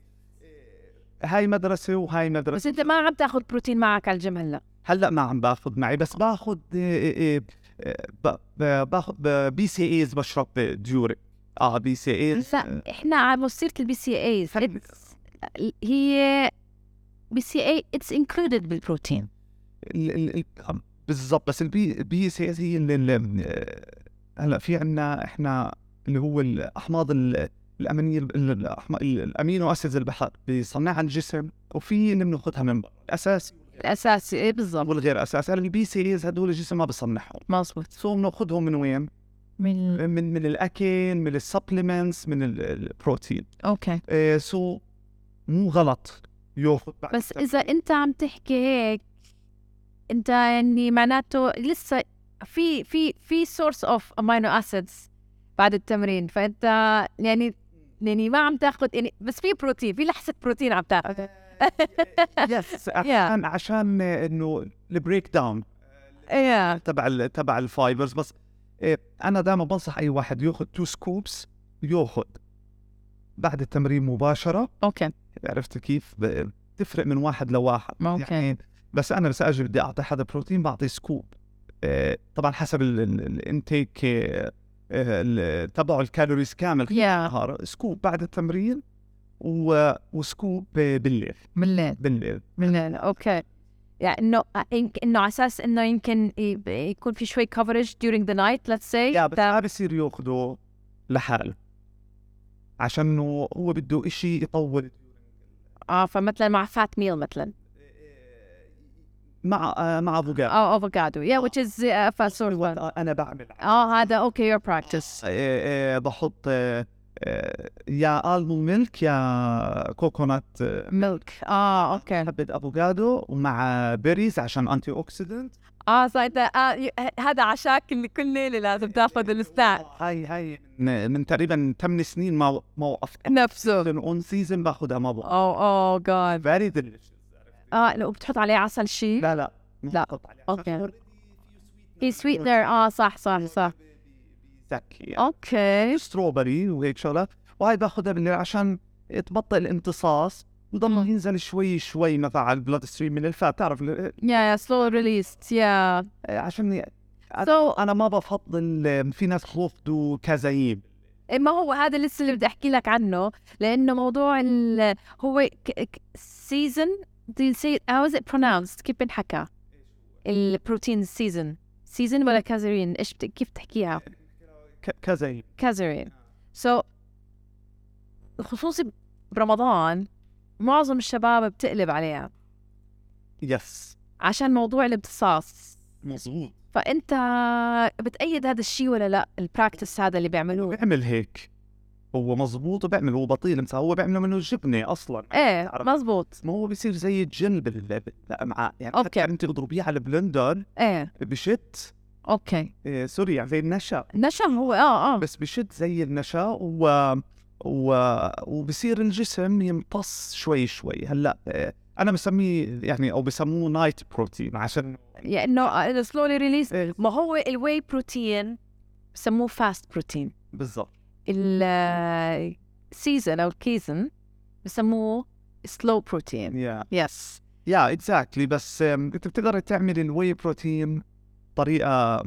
Speaker 2: هاي مدرسه وهاي مدرسه
Speaker 1: بس انت ما عم تاخذ بروتين معك على الجيم هلا
Speaker 2: هلا ما عم باخذ معي بس باخذ إيه، باخذ بي سي ايز بشرب ديوري اه بي سي ايز
Speaker 1: هسا احنا على مصيرة البي سي ايز
Speaker 2: خلي-
Speaker 1: هي بي سي اي اتس انكلودد بالبروتين
Speaker 2: ال- ال- ال- بالضبط بس البي بي سي اس هي اللي اللي هلا في عندنا احنا اللي هو الاحماض ال- الامينيه ال- ال- الأحما- ال- الامينو اسيدز البحر بيصنعها الجسم وفي اللي بناخذها من برا الاساسي
Speaker 1: الاساسي ايه بالضبط
Speaker 2: والغير اساسي هلا البي سي اس هدول الجسم ما بصنعهم
Speaker 1: مزبوط
Speaker 2: سو بناخذهم من وين؟
Speaker 1: من
Speaker 2: من من الاكل من السبلمنتس من ال- البروتين
Speaker 1: اوكي
Speaker 2: إيه، سو مو غلط ياخذ بعد
Speaker 1: بس اذا انت عم تحكي هيك انت يعني معناته لسه في في في سورس اوف امينو اسيدز بعد التمرين فانت يعني يعني ما عم تاخذ يعني بس في بروتين في لحسه بروتين عم تاخذ
Speaker 2: يس عشان عشان انه البريك داون
Speaker 1: ايه
Speaker 2: تبع ال- تبع الفايبرز بس إيه انا دائما بنصح اي واحد ياخذ تو سكوبس ياخذ بعد التمرين مباشره
Speaker 1: اوكي
Speaker 2: عرفت كيف ب- تفرق من واحد لواحد
Speaker 1: أوكي.
Speaker 2: يعني بس انا بس اجي بدي اعطي حدا بروتين بعطي سكوب إيه طبعا حسب ال- ال- الانتيك إيه، إيه، ال- تبعه الكالوريز كامل خلال
Speaker 1: يا
Speaker 2: النهار سكوب بعد التمرين و... وسكوب إيه، بالليل
Speaker 1: بالليل
Speaker 2: بالليل
Speaker 1: بالليل اوكي يعني انه يمكن انه على اساس انه يمكن ي- يكون في شوي coverage during the night let's say
Speaker 2: لا بس ما بصير ياخده لحاله عشان إنه هو بده إشي يطول
Speaker 1: اه فمثلا مع فات ميل مثلا
Speaker 2: مع آه، مع فوجا
Speaker 1: او افوكادو yeah which is uh, fat source one.
Speaker 2: انا بعمل آه،
Speaker 1: اه هذا اوكي your practice
Speaker 2: آه، بحط آه، آه، يا المون ميلك يا كوكونات آه،
Speaker 1: ميلك اه اوكي
Speaker 2: حبة افوكادو ومع بيريز عشان انتي اوكسيدنت
Speaker 1: اه فانت آه ي- هذا عشاك اللي كل ليله لازم تاخذ السناك
Speaker 2: هاي هاي من من تقريبا 8 سنين ما ما وقفت
Speaker 1: نفسه Oh،
Speaker 2: اون سيزون باخذها ما بوقف
Speaker 1: اوه اوه جاد
Speaker 2: فيري ديليشس
Speaker 1: اه لو بتحط عليه عسل شي
Speaker 2: لا لا
Speaker 1: لا.
Speaker 2: بحط عليها.
Speaker 1: أوكي.
Speaker 2: already
Speaker 1: في سويتنر اه صح صح صح
Speaker 2: زكي
Speaker 1: اوكي
Speaker 2: ستروبري وهيك شغلات وهي باخذها بالليل عشان تبطئ الامتصاص وضل
Speaker 1: مم.
Speaker 2: ينزل شوي شوي مثلا على البلاد ستريم من الفات تعرف ال-
Speaker 1: يا يا slow released يا
Speaker 2: آه، عشان ي-
Speaker 1: so
Speaker 2: انا ما بفضل في ناس بياخذوا كزايب
Speaker 1: ما هو هذا لسه اللي بدي احكي لك عنه لانه موضوع ال هو سيزون do you say how is it pronounced كيف بنحكى البروتين سيزون سيزون ولا كازرين ايش بت... كيف تحكيها
Speaker 2: ك- كزايب
Speaker 1: كازرين سو so, خصوصي برمضان معظم الشباب بتقلب عليها
Speaker 2: يس
Speaker 1: عشان موضوع الامتصاص
Speaker 2: مظبوط
Speaker 1: فانت بتأيد هذا الشيء ولا لا البراكتس هذا اللي بيعملوه
Speaker 2: بيعمل هيك هو مظبوط وبيعمل هو بطيء مثلا هو بيعمله منه جبنه اصلا
Speaker 1: ايه
Speaker 2: عرفت.
Speaker 1: مزبوط
Speaker 2: ما هو بيصير زي الجن بال- بالامعاء يعني
Speaker 1: أوكي.
Speaker 2: حتى انت تضربيه على البلندر
Speaker 1: ايه
Speaker 2: بشت
Speaker 1: اوكي
Speaker 2: إيه، سوري يعني زي النشا
Speaker 1: نشا هو اه اه
Speaker 2: بس بشد زي النشا و... و... وبصير الجسم يمتص شوي شوي هلا إيه، انا بسميه يعني او بسموه نايت بروتين عشان
Speaker 1: يعني لانه سلولي ريليس
Speaker 2: إيه،
Speaker 1: ما هو الواي بروتين بسموه فاست بروتين
Speaker 2: بالضبط
Speaker 1: السيزن او الكيزن بسموه سلو بروتين
Speaker 2: يا
Speaker 1: يس
Speaker 2: يا اكزاكتلي يعني، بس إم، انت بتقدر تعمل الواي بروتين طريقه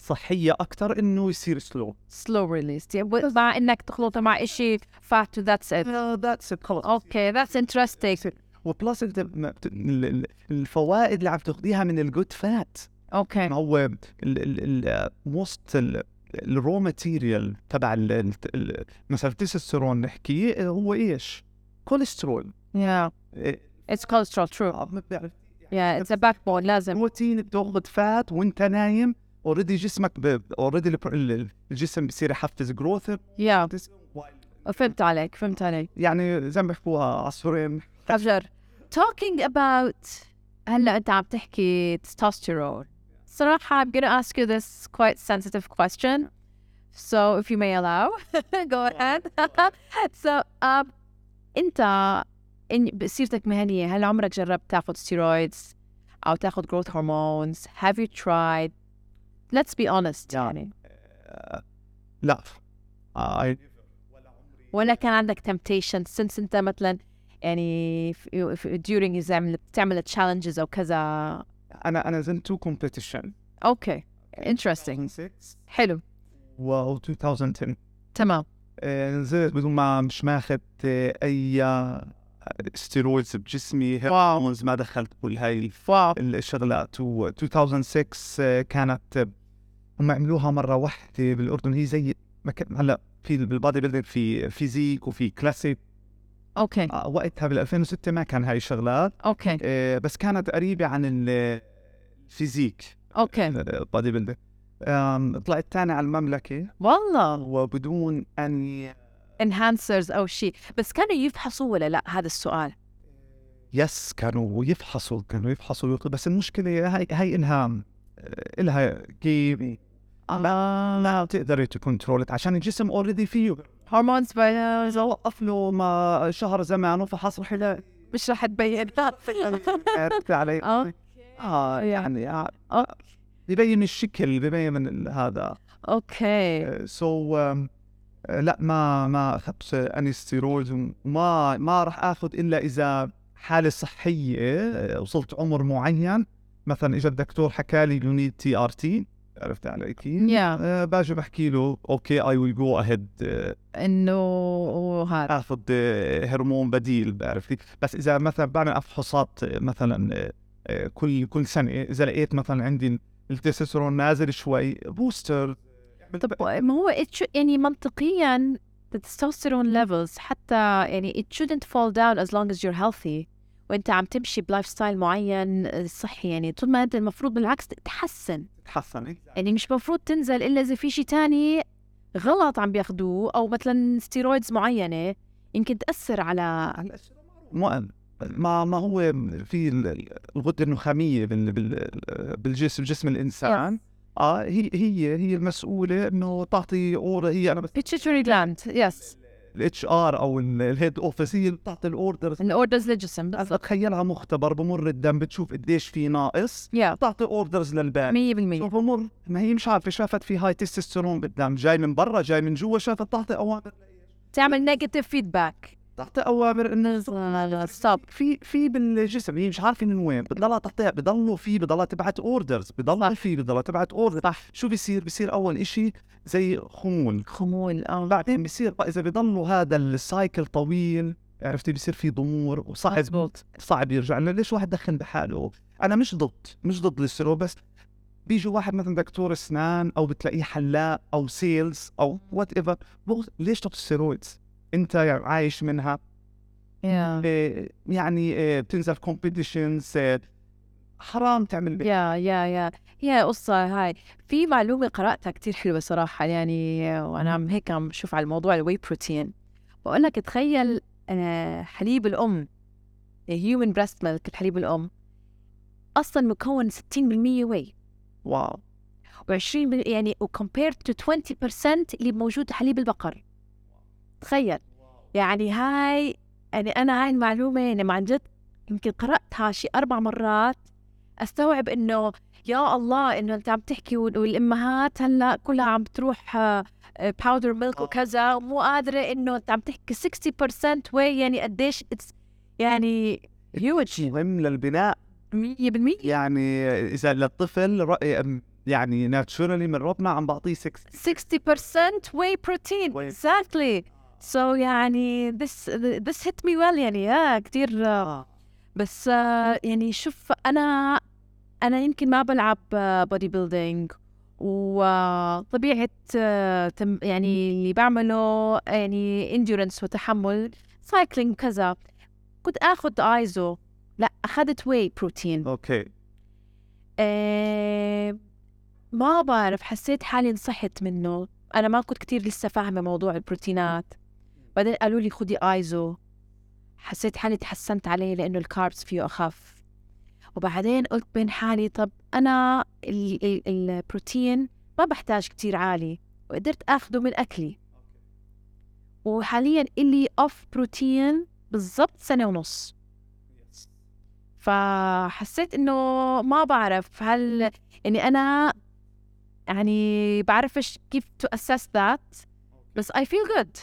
Speaker 2: صحيه اكثر انه يصير سلو
Speaker 1: سلو ريليس مع انك تخلطه مع شيء فات ذاتس ات
Speaker 2: ذاتس ات خلص
Speaker 1: اوكي ذاتس انترستينج
Speaker 2: وبلس انت ما بت- ال- ال- الفوائد اللي عم تاخذيها من الجود فات
Speaker 1: اوكي
Speaker 2: ما هو موست الرو ماتيريال تبع ال- ال- ال- مثلا التستوستيرون نحكي هو ايش؟ كوليسترول
Speaker 1: يا
Speaker 2: إيه،
Speaker 1: اتس كولسترول ترو
Speaker 2: آه، ما بيعرف.
Speaker 1: يا اتس باك بون لازم
Speaker 2: بروتين بتاخذ فات وانت نايم اوريدي جسمك اوريدي الجسم بصير يحفز جروث
Speaker 1: يا فهمت عليك فهمت عليك
Speaker 2: يعني زي ما بيحكوها عصفورين
Speaker 1: افجر talking about هلا انت عم تحكي testosterone صراحة I'm gonna ask you this quite sensitive question so if you may allow go ahead so um, انت إن بسيرتك مهنية هل عمرك جربت تاخذ steroids او تاخذ growth hormones have you tried let's be honest
Speaker 2: نعم.
Speaker 1: يعني
Speaker 2: لا آه،
Speaker 1: ولا كان عندك temptation since انت مثلا يعني if, if during exam بتعمل challenges او كذا
Speaker 2: انا انا زنت تو كومبيتيشن
Speaker 1: اوكي interesting حلو
Speaker 2: و 2010
Speaker 1: تمام
Speaker 2: آه، نزلت بدون ما مش ماخذ آه، اي ستيرويدز بجسمي هرمونز ما دخلت كل هاي الف-
Speaker 1: واو
Speaker 2: الشغلات و 2006 آه، كانت آه، هم عملوها مره واحده بالاردن هي زي ما كان- هلا في بالبادي بيلدينج في فيزيك وفي كلاسيك
Speaker 1: اوكي
Speaker 2: آه، وقتها بال 2006 ما كان هاي الشغلات
Speaker 1: اوكي
Speaker 2: آه، بس كانت قريبه عن ال- الفيزيك آه،
Speaker 1: اوكي
Speaker 2: البادي بيلدينج طلعت ثاني على المملكه
Speaker 1: والله
Speaker 2: وبدون ان
Speaker 1: انهانسرز او شيء بس كانوا يفحصوا ولا لا هذا السؤال
Speaker 2: يس كانوا يفحصوا كانوا يفحصوا ويق- بس المشكله هاي هاي آه، انها الها كيف ما ما بتقدري تكنترول عشان الجسم اوريدي فيه
Speaker 1: هرمونز
Speaker 2: اذا وقف له ما شهر زمان فحص رح يلاقي
Speaker 1: مش رح تبين
Speaker 2: عرفت علي؟
Speaker 1: آه.
Speaker 2: اه يعني آه، آه، ببين الشكل ببين من ال- هذا
Speaker 1: اوكي
Speaker 2: سو um, آه، لا ما ما اخذت اني ستيرويد وما ما راح اخذ الا اذا حاله صحيه آه، وصلت عمر معين مثلا اجى الدكتور حكى لي يو نيد تي ار تي عرفت علي كيف؟
Speaker 1: Yeah.
Speaker 2: آه، باجي بحكي له اوكي اي ويل جو اهيد
Speaker 1: انه هذا
Speaker 2: اخذ آه، هرمون بديل بعرف كيف؟ بس اذا مثلا بعمل افحوصات آه، مثلا آه، آه، كل كل سنه اذا لقيت مثلا عندي التستوستيرون نازل شوي بوستر
Speaker 1: طب ما هو it should- يعني منطقيا the testosterone levels حتى يعني it shouldn't fall down as long as you're healthy وانت عم تمشي بلايف ستايل معين آه، صحي يعني طول ما انت المفروض بالعكس تتحسن
Speaker 2: تحسن
Speaker 1: يعني مش مفروض تنزل الا اذا في شيء تاني غلط عم بياخدوه او مثلا ستيرويدز معينه يمكن تاثر على
Speaker 2: مؤن ما ما هو في ال- ال- الغده النخاميه بال بال بالجسم جسم الانسان اه هي هي هي المسؤوله انه تعطي اوردر هي انا بس
Speaker 1: pituitary gland يس
Speaker 2: الاتش ار او ال- الهيد اوفيس هي اللي بتعطي الاوردرز
Speaker 1: الاوردرز للجسم بالضبط
Speaker 2: تخيلها مختبر بمر الدم بتشوف قديش في ناقص
Speaker 1: يا
Speaker 2: بتعطي اوردرز للباقي
Speaker 1: 100%
Speaker 2: بمر ما هي مش عارفه شافت في هاي تستوستيرون بالدم جاي من برا جاي من جوا شافت تعطي اوامر
Speaker 1: تعمل نيجاتيف فيدباك
Speaker 2: تعطي اوامر انه
Speaker 1: ستوب
Speaker 2: في في بالجسم هي مش عارفه من وين بتضلها تعطيها بضلوا في بضلها تبعت اوردرز بضلها في بضلها تبعت اوردرز
Speaker 1: صح
Speaker 2: شو بيصير بيصير اول إشي زي خمول
Speaker 1: خمول اه
Speaker 2: بعدين بيصير بقى اذا بضلوا هذا السايكل طويل عرفتي بيصير في ضمور وصعب
Speaker 1: مزبوط
Speaker 2: صعب يرجع لنا ليش واحد دخن بحاله انا مش ضد مش ضد الاستيرو بس بيجي واحد مثلا دكتور اسنان او بتلاقيه حلاق او سيلز او وات ايفر ليش تاخذ ستيرويدز انت يعني عايش منها
Speaker 1: يا
Speaker 2: إيه، يعني إيه، بتنزل كومبيتيشنز حرام تعمل بي-
Speaker 1: يا يا يا هي قصة هاي في معلومة قرأتها كتير حلوة صراحة يعني وأنا عم هيك عم بشوف على الموضوع الواي بروتين بقول لك تخيل آه، حليب الأم آه، هيومن بريست ميلك الحليب الأم أصلا مكون 60% واي
Speaker 2: واو
Speaker 1: و20 بال- يعني وكومبيرد تو 20% اللي موجود حليب البقر تخيل يعني هاي يعني انا هاي المعلومه يعني ما عن جد يمكن قراتها شي اربع مرات استوعب انه يا الله انه انت عم تحكي وال- والامهات هلا كلها عم تروح باودر ميلك
Speaker 2: آه.
Speaker 1: وكذا ومو قادره انه انت عم تحكي 60% واي يعني قديش it's- يعني هيوج
Speaker 2: مهم للبناء
Speaker 1: 100%
Speaker 2: يعني اذا للطفل رأي أم- يعني ناتشورالي من ربنا عم بعطيه 6
Speaker 1: 60% whey protein
Speaker 2: Whey.
Speaker 1: exactly so يعني this this hit me well يعني يا كثير بس آه، يعني شوف انا انا يمكن ما بلعب بودي بيلدينج وطبيعة آه، تم يعني اللي بعمله يعني endurance وتحمل سايكلينج كذا كنت اخذ ايزو لا اخذت واي بروتين
Speaker 2: اوكي
Speaker 1: آه، ما بعرف حسيت حالي انصحت منه انا ما كنت كتير لسه فاهمه موضوع البروتينات بعدين قالوا لي خدي ايزو حسيت حالي تحسنت عليه لانه الكاربس فيه اخف وبعدين قلت بين حالي طب أنا ال- ال- البروتين ما بحتاج كتير عالي وقدرت أخده من أكلي وحاليا إلي أوف بروتين بالضبط سنة ونص فحسيت إنه ما بعرف هل إني أنا يعني بعرفش كيف to assess that بس I feel good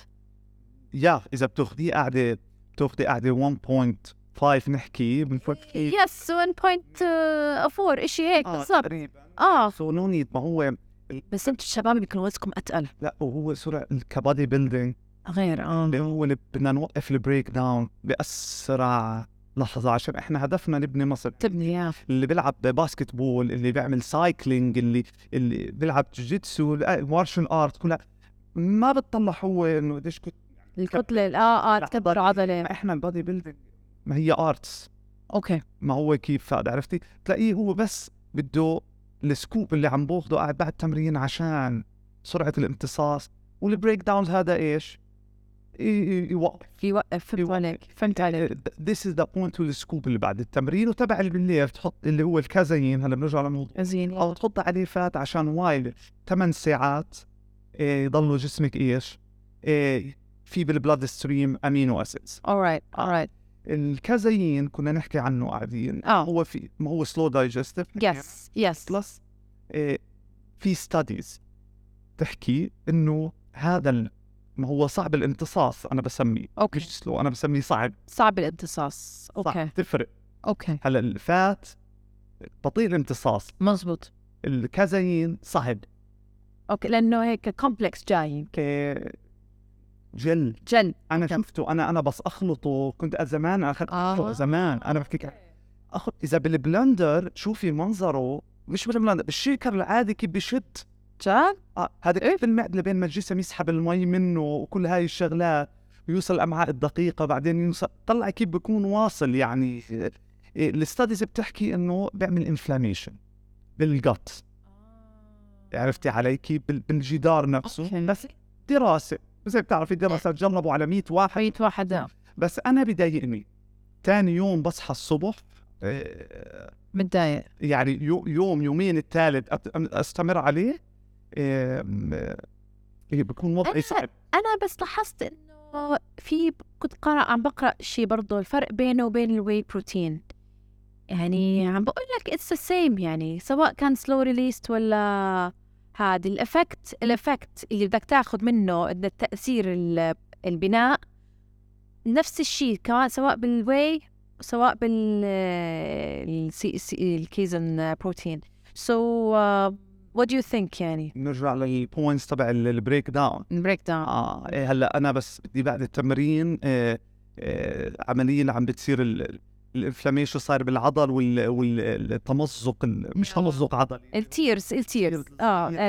Speaker 2: يا اذا بتاخذيه قاعده بتاخذي قاعده 1.5 نحكي بنفكر
Speaker 1: يس 1.4 اشي آه، هيك إيه، بالضبط
Speaker 2: تقريبا
Speaker 1: اه
Speaker 2: سو نو نيد آه، ما هو
Speaker 1: بس انتم الشباب بيكون وزنكم اتقل
Speaker 2: لا وهو سرعه كبادي بيلدينج
Speaker 1: غير اه
Speaker 2: اللي هو اللي بدنا نوقف البريك داون باسرع لحظه عشان احنا هدفنا نبني مصر
Speaker 1: تبني يا
Speaker 2: اللي بيلعب باسكت بول اللي بيعمل سايكلينج اللي اللي بيلعب جوجيتسو مارشال ارت كلها ما بتطلع هو انه قديش كنت
Speaker 1: الكتله ال- اه اه تكبر عضله
Speaker 2: ما احنا البادي بيلدينج ما هي ارتس
Speaker 1: اوكي
Speaker 2: ما هو كيف فاد عرفتي تلاقيه هو بس بده السكوب اللي عم باخده قاعد بعد التمرين عشان سرعه الامتصاص والبريك داونز هذا ايش؟ ي- ي- يوقف
Speaker 1: يوقف فهمت
Speaker 2: يوقف.
Speaker 1: عليك فهمت عليك
Speaker 2: This is the point to the scoop اللي بعد التمرين وتبع اللي بالليل تحط اللي هو الكازين هلا بنرجع للموضوع
Speaker 1: زين
Speaker 2: او تحط عليه فات عشان وايل 8 ساعات إيه، يضلوا جسمك ايش؟ إيه، في بالبلاد ستريم امينو اسيدز
Speaker 1: alright alright
Speaker 2: الكازين كنا نحكي عنه قاعدين
Speaker 1: اه
Speaker 2: هو في ما هو سلو دايجستيف
Speaker 1: يس يس
Speaker 2: بلس إيه، في ستاديز تحكي انه هذا ال- ما هو صعب الامتصاص انا بسميه
Speaker 1: اوكي
Speaker 2: مش سلو انا بسميه صعب
Speaker 1: صعب الامتصاص
Speaker 2: صعب
Speaker 1: اوكي
Speaker 2: تفرق
Speaker 1: اوكي
Speaker 2: هلا الفات بطيء الامتصاص
Speaker 1: مزبوط
Speaker 2: الكازين صعب
Speaker 1: اوكي لانه هيك كومبلكس جايين
Speaker 2: إيه، جل
Speaker 1: جل
Speaker 2: انا
Speaker 1: جل.
Speaker 2: شفته انا انا بس اخلطه كنت زمان اخذت
Speaker 1: آه.
Speaker 2: آه. زمان انا بحكيك اخذ اذا بالبلندر شوفي منظره مش بالبلندر بالشيكر العادي كيف بشد
Speaker 1: جد
Speaker 2: آه، هذا
Speaker 1: إيه؟
Speaker 2: كيف المعدة بين ما الجسم يسحب المي منه وكل هاي الشغلات ويوصل الامعاء الدقيقه بعدين يوصل طلع كيف بيكون واصل يعني إيه، الستاديز بتحكي انه بيعمل انفلاميشن بالجت عرفتي علي كيف بال- بالجدار
Speaker 1: أوكي.
Speaker 2: نفسه بس دراسه زي بتعرفي دراسه جربوا على 100 واحد
Speaker 1: حيت واحد
Speaker 2: بس انا بضايقني تاني يوم بصحى الصبح آه،
Speaker 1: متضايق
Speaker 2: يعني يو- يوم يومين الثالث أت- استمر عليه آه، م- آه، بكون وضعي
Speaker 1: أنا-
Speaker 2: صعب
Speaker 1: انا بس لاحظت انه في كنت قرأ عم بقرا شيء برضه الفرق بينه وبين الواي بروتين يعني عم بقول لك اتس سيم يعني سواء كان سلو ريليست ولا هذا الافكت الافكت اللي بدك تاخذ منه إن التاثير ال- البناء نفس الشيء كمان سواء بالواي سواء بال السي- السي- الكيزن بروتين سو وات دو يو ثينك يعني
Speaker 2: نرجع للبوينتس تبع ال- البريك داون
Speaker 1: بريك داون
Speaker 2: اه إيه هلا انا بس بدي بعد التمرين آه آه عمليه اللي عم بتصير ال- الانفلاميشن صاير بالعضل والتمزق مش
Speaker 1: آه.
Speaker 2: تمزق عضلي
Speaker 1: التيرز التيرز
Speaker 2: التيرز.
Speaker 1: اه ال- اه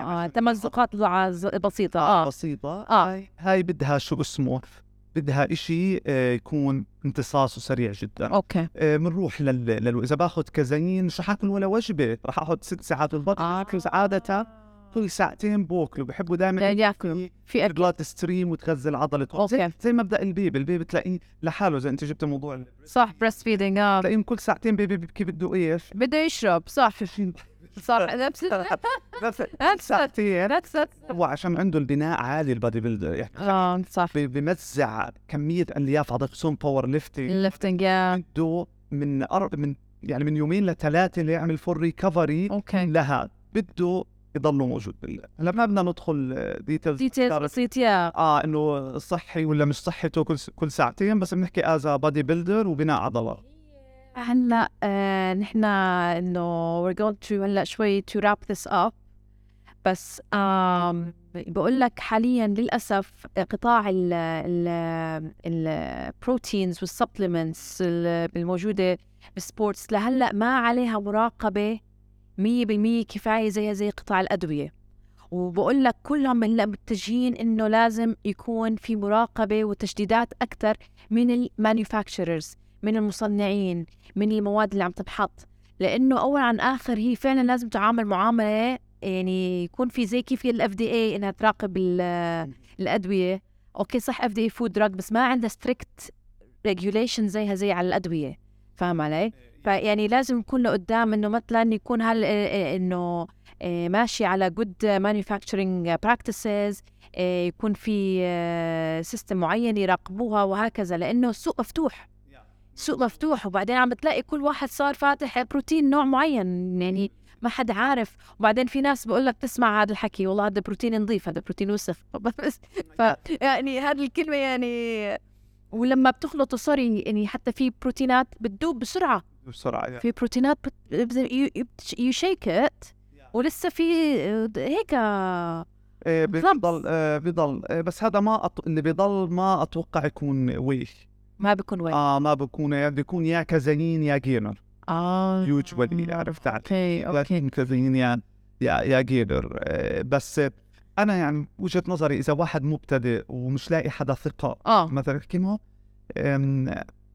Speaker 1: اه اه تمزقات ضعاز- بسيطة
Speaker 2: آه،
Speaker 1: اه
Speaker 2: بسيطه
Speaker 1: اه
Speaker 2: هاي بدها شو اسمه بدها إشي آه، يكون امتصاصه سريع جدا
Speaker 1: اوكي
Speaker 2: بنروح لل... لل... اذا باخذ كازايين مش رح اكل ولا وجبه رح اقعد ست ساعات بالبطن
Speaker 1: آه.
Speaker 2: آكل عاده كل ساعتين بوكلوا بحبوا دائما
Speaker 1: يعني ياكلوا في اكل
Speaker 2: بلاد ستريم وتغذي العضله
Speaker 1: أوكي.
Speaker 2: زي, زي مبدا البيب البيب بتلاقيه لحاله اذا انت جبت موضوع ال-
Speaker 1: صح بريست فيدنج اه
Speaker 2: بتلاقيهم كل ساعتين بيبي بيبكي بده ايش
Speaker 1: بده يشرب صح صح نفس
Speaker 2: نفس
Speaker 1: نفس
Speaker 2: ساعتين
Speaker 1: نفس
Speaker 2: وعشان عنده البناء عالي البادي بيلدر يعني
Speaker 1: اه صح
Speaker 2: بي- بمزع كميه الياف عضلات خصوصا باور ليفتنج
Speaker 1: اللفتنج اه
Speaker 2: بده من أر... من يعني من يومين لثلاثه ليعمل فول ريكفري
Speaker 1: اوكي
Speaker 2: لها بده يضله موجود بال- هلا ما بدنا ندخل آه، ديتيلز
Speaker 1: ديتيلز بسيط يا
Speaker 2: اه انه صحي ولا مش صحي تو كل س- كل ساعتين بس بنحكي از بادي بيلدر وبناء عضلات
Speaker 1: هلا آه، نحن انه we're going to هلا شوي to wrap this up بس آم بقول لك حاليا للاسف قطاع ال ال البروتينز والسبلمنتس الموجوده بالسبورتس لهلا ما عليها مراقبه 100% كفايه زيها زي قطاع الادويه وبقول لك كلهم هلا متجهين انه لازم يكون في مراقبه وتشديدات اكثر من المانيفاكتشرز من المصنعين من المواد اللي عم تنحط لانه اول عن اخر هي فعلا لازم تعامل معامله يعني يكون في زي كيف الاف دي اي انها تراقب ال- الادويه اوكي صح اف دي اي فود دراج بس ما عندها ستريكت ريجوليشن زيها زي على الادويه فاهم علي؟ فيعني لازم يكون لقدام انه مثلا يكون هل إيه، انه آه، ماشي على good manufacturing practices آه، يكون في سيستم معين يراقبوها وهكذا لانه السوق مفتوح سوق مفتوح وبعدين عم بتلاقي كل واحد صار فاتح بروتين نوع معين يعني ما حد عارف وبعدين في ناس بقول لك تسمع هذا الحكي والله هذا بروتين نظيف هذا بروتين وسخ بس ف يعني هذه الكلمه يعني ولما بتخلطه سوري يعني حتى في بروتينات بتدوب بسرعه
Speaker 2: بسرعه يا.
Speaker 1: في بروتينات يشيك ات ولسه في آه، هيك
Speaker 2: إيه،
Speaker 1: clumps.
Speaker 2: بيضل آه، بيضل آه، بس هذا ما أط... اللي بيضل ما اتوقع يكون ويش
Speaker 1: ما بيكون وين
Speaker 2: اه ما بكون يعني بده يكون يا كزنين يا جيمر
Speaker 1: اه
Speaker 2: usually عرفت علي
Speaker 1: اوكي اوكي
Speaker 2: لكن كزنين يا يا يا جيمر آه، بس آه، انا يعني وجهه نظري اذا واحد مبتدئ ومش لاقي حدا ثقه
Speaker 1: اه
Speaker 2: مثلا احكي معه أم،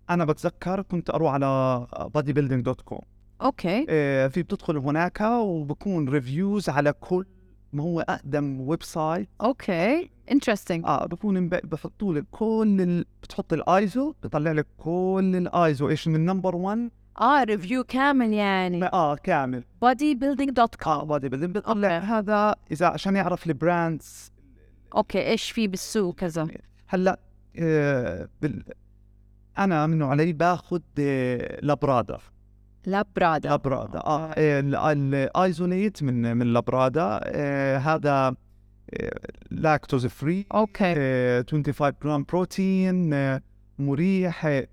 Speaker 2: انا بتذكر كنت اروح على بادي بيلدينج دوت كوم
Speaker 1: اوكي
Speaker 2: إيه، في بتدخل هناك وبكون ريفيوز على كل ما هو اقدم ويب سايت
Speaker 1: اوكي انترستنج
Speaker 2: اه بكون بحطوا لك كل ال... بتحط الايزو بطلع لك كل الايزو ايش من نمبر 1
Speaker 1: اه ريفيو كامل يعني
Speaker 2: اه كامل
Speaker 1: بودي بيلدينج دوت
Speaker 2: اه
Speaker 1: كوم
Speaker 2: بادي بيلدينج بطلع
Speaker 1: أوكي.
Speaker 2: هذا اذا عشان يعرف البراندز
Speaker 1: اوكي ايش في بالسوق كذا
Speaker 2: هلا إيه، بال... انا منه علي باخذ إيه، لابرادر
Speaker 1: لابرادا
Speaker 2: لابرادا اه الايزوليت من من لابرادا آه، هذا آه، لاكتوز فري
Speaker 1: اوكي
Speaker 2: آه، 25 جرام بروتين آه، مريح آه،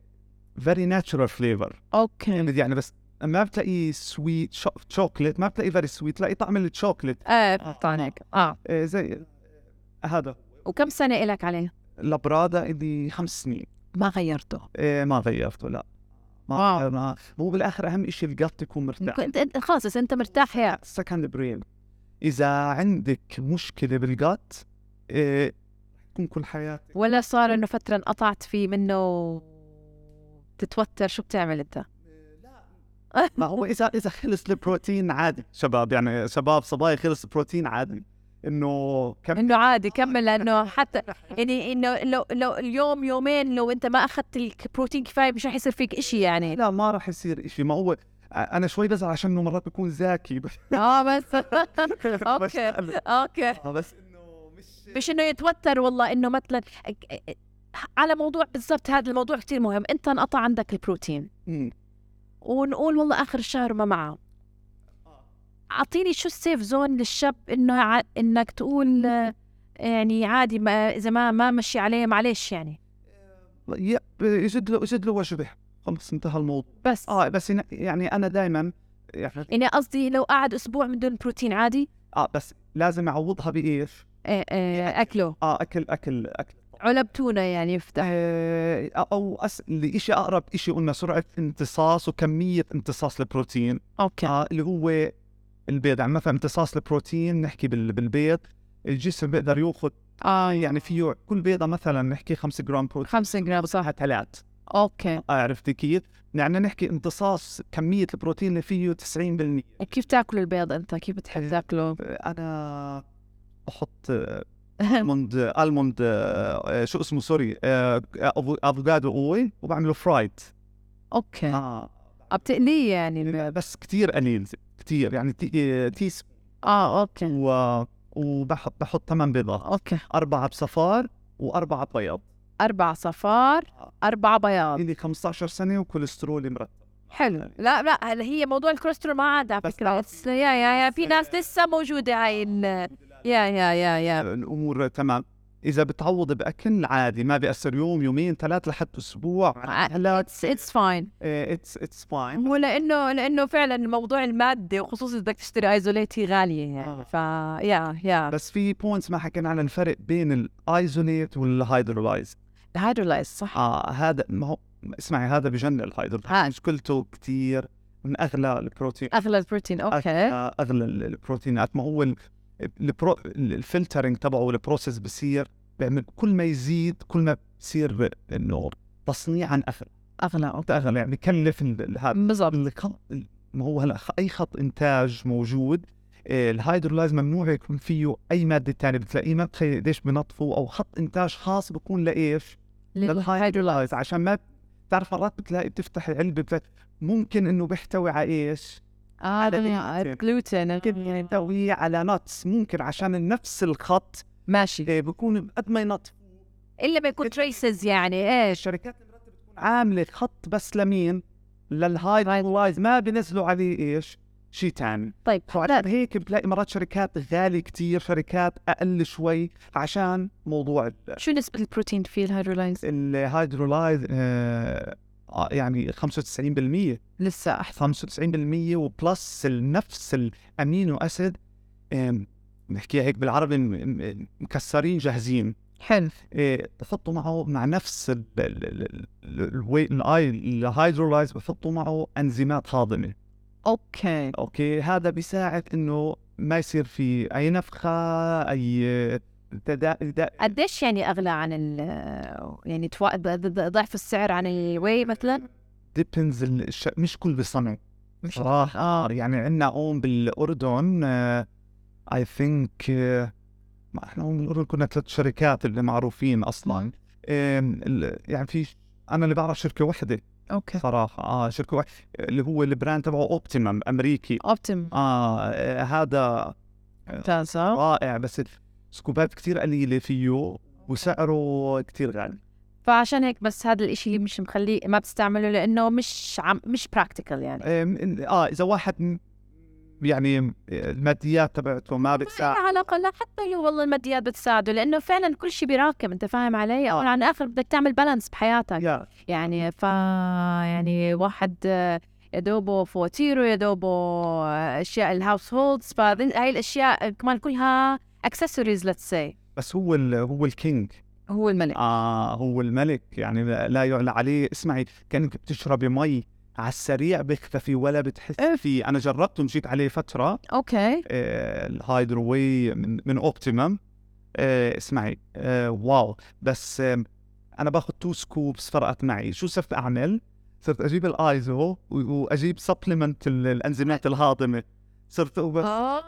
Speaker 2: فيري ناتشرال فليفر
Speaker 1: اوكي
Speaker 2: يعني بس ما بتلاقي سويت شوكليت ما بتلاقي فيري سويت تلاقي طعم الشوكليت
Speaker 1: ايه طانك اه
Speaker 2: آه، زي هذا
Speaker 1: وكم سنه إلك عليه؟
Speaker 2: لابرادا اللي خمس سنين
Speaker 1: ما غيرته
Speaker 2: آه، ما غيرته لا
Speaker 1: واو.
Speaker 2: ما ما- هو بالاخر اهم شيء القط يكون مرتاح
Speaker 1: كنت أنت- خلص إذا انت مرتاح يا
Speaker 2: سكند برين اذا عندك مشكله بالجات إيه، تكون كل حياتك
Speaker 1: ولا صار انه فتره انقطعت فيه منه تتوتر شو بتعمل انت؟
Speaker 2: ما هو اذا اذا خلص البروتين عادي شباب يعني شباب صبايا خلص البروتين عادي انه كم
Speaker 1: انه عادي كمل لانه حتى يعني انه لو لو اليوم يومين لو انت ما اخذت البروتين كفايه مش رح يصير فيك إشي يعني
Speaker 2: لا ما راح يصير إشي ما هو انا شوي بزعل عشان انه مرات بكون ذكي بس آه،
Speaker 1: اه بس
Speaker 2: بس-
Speaker 1: اوكي اوكي
Speaker 2: آه، بس انه مش
Speaker 1: مش انه يتوتر والله انه مثلا على موضوع بالضبط هذا الموضوع كتير مهم انت انقطع عندك البروتين
Speaker 2: مم.
Speaker 1: ونقول والله اخر الشهر ما معه اعطيني شو السيف زون للشاب انه ع... انك تقول آه، يعني عادي ما اذا ما ما مشي عليه معلش يعني
Speaker 2: يب يجد له يجد له وشبح خلص انتهى الموضوع
Speaker 1: بس
Speaker 2: اه بس هنا- يعني انا دائما يعني
Speaker 1: يعني قصدي لو قعد اسبوع من دون بروتين عادي
Speaker 2: اه بس لازم اعوضها بايش؟
Speaker 1: آه، آه، اكله
Speaker 2: اه اكل اكل اكل
Speaker 1: علب تونه يعني يفتح
Speaker 2: آه، او أس... لإشي اقرب إشي قلنا سرعه امتصاص وكميه امتصاص البروتين
Speaker 1: اوكي
Speaker 2: آه اللي هو البيض يعني مثلا امتصاص البروتين نحكي بال... بالبيض الجسم بيقدر ياخذ
Speaker 1: اه
Speaker 2: يعني فيه كل بيضه مثلا نحكي 5 جرام بروتين
Speaker 1: 5 جرام صح
Speaker 2: بصحة ثلاث
Speaker 1: اوكي
Speaker 2: آه عرفت كيف؟ يعني نحكي امتصاص كميه البروتين اللي فيه 90%
Speaker 1: وكيف تاكل البيض انت كيف بتحب تاكله
Speaker 2: انا بحط الموند الموند شو اسمه سوري آه، أفو- افوكادو اوي وبعمله فرايد
Speaker 1: اوكي
Speaker 2: اه
Speaker 1: آه، بتقليه يعني البيض.
Speaker 2: بس كثير قليل كثير يعني تي- تيس
Speaker 1: اه اوكي
Speaker 2: و وبحط بحط ثمان بيضات
Speaker 1: اوكي
Speaker 2: أربعة بصفار وأربعة بيض
Speaker 1: اربع صفار اربع بياض
Speaker 2: عندي 15 سنة وكوليسترولي مرتب
Speaker 1: حلو لا لا هلا هي موضوع الكوليسترول ما عاد على
Speaker 2: بس
Speaker 1: فكره
Speaker 2: بس-
Speaker 1: بس يا يا يا في ناس لسه موجوده هاي ال... يا يا يا يا
Speaker 2: الأمور تمام إذا بتعوض بأكل عادي ما بيأثر يوم يومين ثلاث لحد أسبوع هلا آه،
Speaker 1: اتس اتس فاين
Speaker 2: اتس اتس فاين
Speaker 1: هو لانه لانه فعلا موضوع الماده وخصوصا بدك تشتري ايزوليت هي غاليه
Speaker 2: آه.
Speaker 1: يعني ف يا يا
Speaker 2: بس في بوينتس ما حكينا عن الفرق بين الايزوليت والهيدرولايز
Speaker 1: الهيدرولايز صح
Speaker 2: اه هذا ما هو اسمعي هذا بجنن الهيدرولايز
Speaker 1: هاد.
Speaker 2: مشكلته كثير من اغلى البروتين
Speaker 1: اغلى البروتين اوكي
Speaker 2: آه، اغلى ال- البروتينات ما هو ال- البرو الفلترنج تبعه البروسيس بصير بيعمل كل ما يزيد كل ما بصير انه تصنيع عن اغلى
Speaker 1: اغلى اوكي
Speaker 2: اغلى يعني بكلف ال- ال- هذا
Speaker 1: بالضبط
Speaker 2: اللي خ- ما هو هلا خ- اي خط انتاج موجود آه، الهيدرولايز ممنوع يكون فيه اي ماده ثانيه بتلاقيه ما بتخيل قديش بنطفوا او خط انتاج خاص بكون لايش؟
Speaker 1: لل-
Speaker 2: للهيدرولايز عشان ما تعرف مرات بتلاقي بتفتح العلبه بت- ممكن انه بيحتوي على ايش؟
Speaker 1: اه
Speaker 2: على آه.
Speaker 1: دنيا-
Speaker 2: الجلوتين.
Speaker 1: جلوتين
Speaker 2: ممكن يحتوي على نتس ممكن عشان نفس الخط
Speaker 1: ماشي
Speaker 2: إيه، بكون قد ما ينط
Speaker 1: الا ما يكون تريسز يعني ايش
Speaker 2: الشركات المرتبه بتكون عامله خط بس لمين؟ للهاي لايز ما بينزلوا عليه ايش؟ شيء تاني
Speaker 1: طيب
Speaker 2: فعشان هيك بتلاقي مرات شركات غالية كتير شركات أقل شوي عشان موضوع ال-
Speaker 1: شو نسبة البروتين في الهيدرولاينز؟
Speaker 2: الهيدرولايز آه آه، يعني 95%
Speaker 1: لسه احسن
Speaker 2: 95% وبلس ال- نفس الأمينو أسيد آم، نحكيها هيك بالعربي م- م- مكسرين جاهزين
Speaker 1: حلو
Speaker 2: آه، بحطوا معه مع نفس ال- ال- ال- ال- ال- الوي- الآي- الهيدرولايز بحطوا معه أنزيمات هاضمة
Speaker 1: اوكي
Speaker 2: اوكي هذا بيساعد انه ما يصير في اي نفخه اي تدا... تدا...
Speaker 1: قديش يعني اغلى عن ال يعني توا- ض- ض- ضعف السعر عن الواي مثلا؟
Speaker 2: ديبنز الش... مش كل بصنع صراحه آه. يعني عندنا آه، هون بالاردن اي ثينك آه، ما احنا هون بالاردن كنا ثلاث شركات اللي معروفين اصلا
Speaker 1: مم.
Speaker 2: آم، ال- يعني في ش- انا اللي بعرف شركه واحده
Speaker 1: اوكي
Speaker 2: صراحه اه شركه واحده اللي هو البراند تبعه اوبتيمم امريكي
Speaker 1: اوبتيم
Speaker 2: اه آه، هذا
Speaker 1: ممتاز
Speaker 2: رائع بس سكوبات كتير قليلة فيه وسعره كتير غالي
Speaker 1: فعشان هيك بس هذا الاشي مش مخليه ما بتستعمله لانه مش عم مش براكتيكال يعني
Speaker 2: أم، إن- اه اذا واحد م- يعني م- الماديات تبعته ما
Speaker 1: لا
Speaker 2: بتساعد
Speaker 1: علاقة لا حتى لو والله الماديات بتساعده لأنه فعلا كل شيء بيراكم أنت فاهم علي؟ أو عن آخر بدك تعمل بالانس بحياتك
Speaker 2: يا
Speaker 1: يعني ف يعني واحد آه، يا دوبه فواتيره يا دوبه آه، اشياء الهاوس هولدز فهاي الاشياء كمان كلها اكسسوارز ليتس سي
Speaker 2: بس هو ال هو الكينج
Speaker 1: هو الملك
Speaker 2: آه هو الملك يعني لا لا يعلى عليه اسمعي كانك بتشربي مي على السريع بيختفي ولا بتحس فيه انا جربته مشيت عليه فتره
Speaker 1: اوكي
Speaker 2: آه، الهايدرو واي من من اوبتيمم آه، اسمعي آه، واو بس آم، انا باخذ تو سكوبس فرقت معي شو صرت اعمل؟ صرت اجيب الايزو و- واجيب سبلمنت الانزيمات الهاضمه صرت وبس آه.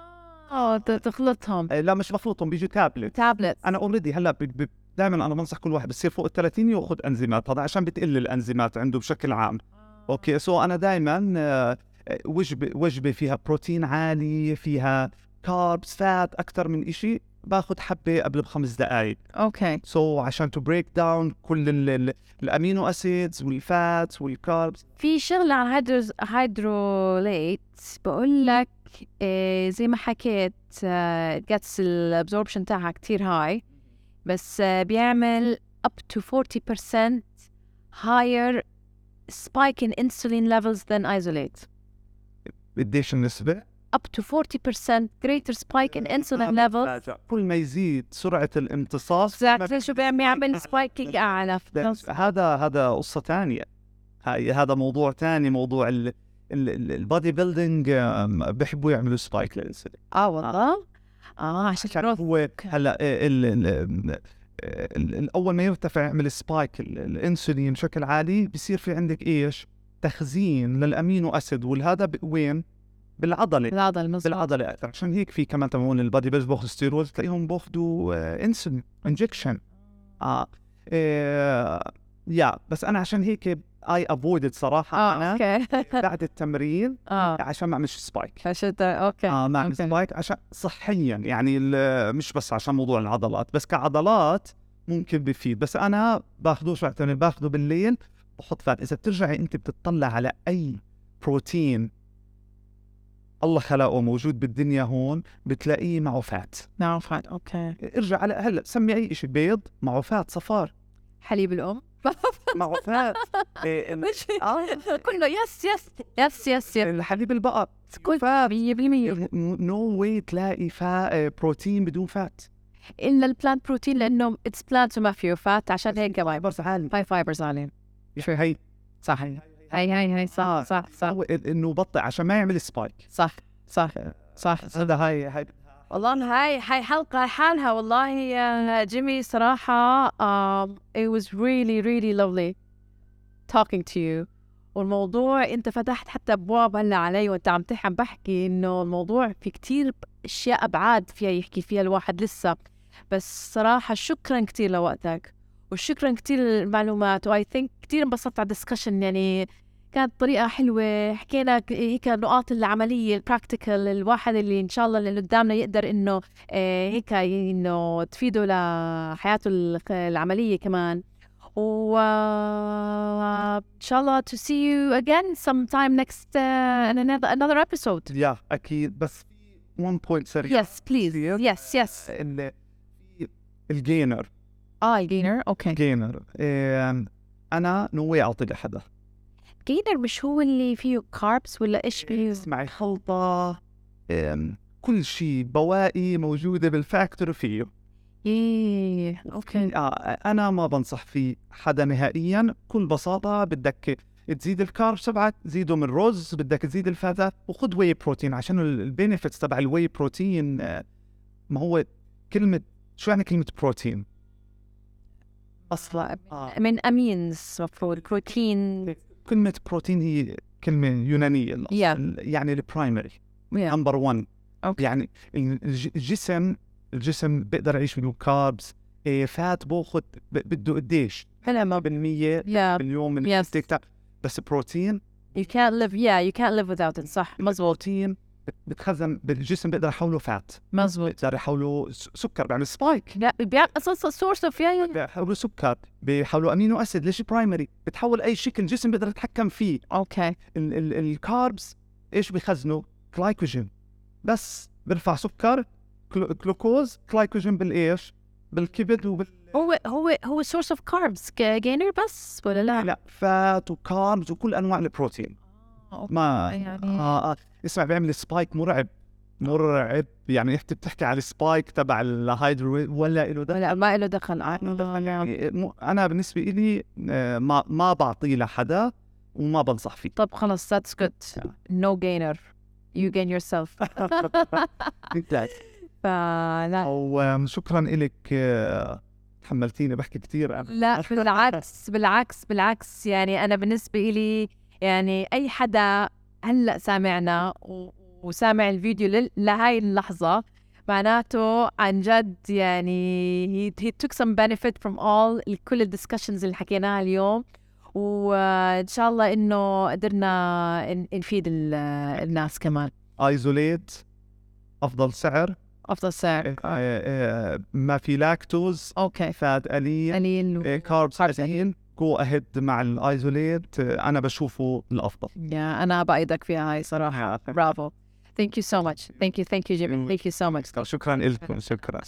Speaker 1: اه ت- تخلطهم
Speaker 2: لا مش بخلطهم بيجوا تابلت
Speaker 1: تابلت
Speaker 2: انا اوريدي هلا دائما انا بنصح كل واحد بصير فوق ال 30 ياخذ انزيمات هذا عشان بتقل الانزيمات عنده بشكل عام اوكي سو انا دائما وجبه وجبه آه، فيها بروتين عالي فيها كاربس فات اكثر من إشي باخذ حبه قبل بخمس دقائق
Speaker 1: اوكي
Speaker 2: سو so, عشان تو بريك داون كل ال- ال- الامينو اسيدز والفاتس والكاربس
Speaker 1: في شغله عن هيدروز هيدروليت بقول لك إيه زي ما حكيت آه، جاتس الابزوربشن تاعها كتير هاي بس آه، بيعمل up to 40% higher spike in insulin levels than isolate
Speaker 2: قديش النسبه؟
Speaker 1: up to 40% greater spike in insulin levels
Speaker 2: كل ما يزيد سرعه الامتصاص ما
Speaker 1: exactly شو بيعمل بيعمل spike اعلى
Speaker 2: بس هذا هذا قصه ثانيه هذا موضوع ثاني موضوع ال البادي بيلدينج بحبوا يعملوا سبايك للانسولين
Speaker 1: اه والله اه عشان
Speaker 2: عشان
Speaker 1: growth.
Speaker 2: هو هلا ال ال ال- ال- ال- اول ما يرتفع يعمل سبايك ال- الانسولين بشكل عالي بصير في عندك ايش؟ تخزين للامينو اسيد والهذا ب- وين؟ بالعضله
Speaker 1: العضل مزبوط
Speaker 2: بالعضله اكثر عشان هيك في كمان تبعون البادي بيلز بياخذوا ستيرويدز تلاقيهم بياخذوا آه، انسولين انجكشن اه إيه، يا بس انا عشان هيك اي افويدد صراحه
Speaker 1: اه
Speaker 2: انا
Speaker 1: اوكي
Speaker 2: بعد التمرين
Speaker 1: اه
Speaker 2: عشان ما اعملش سبايك
Speaker 1: عشان اوكي
Speaker 2: اه مع
Speaker 1: أوكي.
Speaker 2: السبايك عشان صحيا يعني ال- مش بس عشان موضوع العضلات بس كعضلات ممكن بفيد بس انا باخذوش بعتني باخذه بالليل بحط فات اذا بترجعي انت بتطلع على اي بروتين الله خلقه موجود بالدنيا هون بتلاقيه معه فات
Speaker 1: نعرف هاد اوكي
Speaker 2: ارجع على هلا سمي اي شيء بيض معه فات صفار
Speaker 1: حليب الام
Speaker 2: معه فات إيه،
Speaker 1: مش
Speaker 2: آه.
Speaker 1: كله يس يس يس يس يس
Speaker 2: الحليب البقر إيه،
Speaker 1: كل 100%
Speaker 2: نو واي تلاقي فا آه، بروتين بدون فات
Speaker 1: الا البلانت بروتين لانه اتس بلانت وما فيه فات عشان هيك فايبرز
Speaker 2: بس عالي
Speaker 1: هاي فايبرز عليه
Speaker 2: شو هي
Speaker 1: صح هاي هاي هاي صح
Speaker 2: آه.
Speaker 1: صح صح
Speaker 2: هو إن- انه بطئ عشان ما يعمل سبايك
Speaker 1: صح صح صح
Speaker 2: هذا هاي هاي
Speaker 1: والله هاي هاي حلقة حالها والله يا جيمي صراحة um, it was really really lovely talking to you والموضوع انت فتحت حتى ابواب هلا علي وانت عم تح- عم بحكي انه الموضوع في كتير اشياء ابعاد فيها يحكي فيها الواحد لسه بس صراحة شكرا كتير لوقتك وشكرا كثير للمعلومات واي ثينك كثير انبسطت على الدسكشن يعني كانت طريقة حلوة حكينا ك- هيك النقاط العملية البراكتيكال الواحد اللي إن شاء الله اللي قدامنا يقدر إنه آه، هيك ي- إنه تفيده لحياته الخ- العملية كمان و آه، إن شاء الله to see you again sometime next uh, in another another episode.
Speaker 2: يا اكيد بس في 1 بوينت سريع
Speaker 1: Yes, please.
Speaker 2: كثير.
Speaker 1: Yes, yes.
Speaker 2: اللي في الجينر
Speaker 1: اه جينر اوكي.
Speaker 2: جينر إيه انا نوي اعطي لحدا
Speaker 1: جينر مش هو اللي فيه كاربس ولا ايش فيه؟
Speaker 2: اسمعي خلطه إيه كل شيء بواقي موجوده بالفاكتور فيه
Speaker 1: ايه اوكي.
Speaker 2: آه انا ما بنصح فيه حدا نهائيا بكل بساطه بدك تزيد الكارب تبعك زيده من رز بدك تزيد الفاتات وخذ واي بروتين عشان البينفيتس تبع الواي بروتين آه، ما هو كلمه شو يعني كلمه بروتين اصلا آه.
Speaker 1: من امينز مفروض بروتين
Speaker 2: كلمه بروتين هي كلمه يونانيه الأصل،
Speaker 1: Yeah.
Speaker 2: يعني البرايمري
Speaker 1: yeah.
Speaker 2: نمبر 1
Speaker 1: Okay.
Speaker 2: يعني الج- الجسم الجسم بيقدر يعيش بدون كاربس إيه فات باخذ ب- بده قديش؟
Speaker 1: Minimum.
Speaker 2: 7%
Speaker 1: Yeah.
Speaker 2: باليوم من
Speaker 1: Yes.
Speaker 2: التيك تاك بس بروتين
Speaker 1: You can't live yeah you can't live without it صح مزبوط
Speaker 2: بروتين بت- بتخزن بالجسم بيقدر يحوله فات
Speaker 1: مزبوط
Speaker 2: بيقدر يحوله س- سكر يعني بيعمل سبايك
Speaker 1: لا بيعمل اصلا سورس اوف يعني
Speaker 2: بيحولوا سكر بيحولوا امينو اسيد ليش برايمري بتحول اي شكل الجسم بيقدر يتحكم فيه
Speaker 1: اوكي
Speaker 2: ال- ال- الكاربس ايش بيخزنوا؟ جلايكوجين بس بيرفع سكر كلو- جلوكوز جلايكوجين بالايش؟ بالكبد وبال
Speaker 1: هو هو هو سورس اوف كاربس جينر بس ولا لا؟
Speaker 2: لا فات وكاربز وكل انواع البروتين
Speaker 1: أوكي.
Speaker 2: ما
Speaker 1: يعني
Speaker 2: آه آه. اسمع بيعمل سبايك مرعب مرعب يعني انت بتحكي على السبايك تبع الهايدرو ولا له ده
Speaker 1: ولا ما له دخل
Speaker 2: يعني مو- انا بالنسبه لي آه، ما ما بعطيه لحدا وما بنصح فيه
Speaker 1: طب خلص that's good no gainer you gain yourself فلا
Speaker 2: وشكرا لك آه، تحملتيني بحكي كثير انا
Speaker 1: لا بالعكس بالعكس بالعكس يعني انا بالنسبه إلي يعني اي حدا هلا سامعنا و- وسامع الفيديو لل- لهاي اللحظه معناته عن جد يعني he, he took some benefit from all كل الدiscussions اللي حكيناها اليوم وان شاء الله انه قدرنا ن- نفيد ال- الناس كمان
Speaker 2: ايزوليت افضل سعر
Speaker 1: افضل سعر
Speaker 2: آه، آه، ما في لاكتوز
Speaker 1: اوكي
Speaker 2: فات قليل
Speaker 1: قليل و-
Speaker 2: كاربس
Speaker 1: Carbs
Speaker 2: قليل جو اهيد مع الايزوليت انا بشوفه الافضل
Speaker 1: يا انا بايدك فيها هاي صراحه برافو ثانك يو سو ماتش ثانك يو ثانك يو جيمي ثانك يو سو ماتش
Speaker 2: شكرا لكم شكرا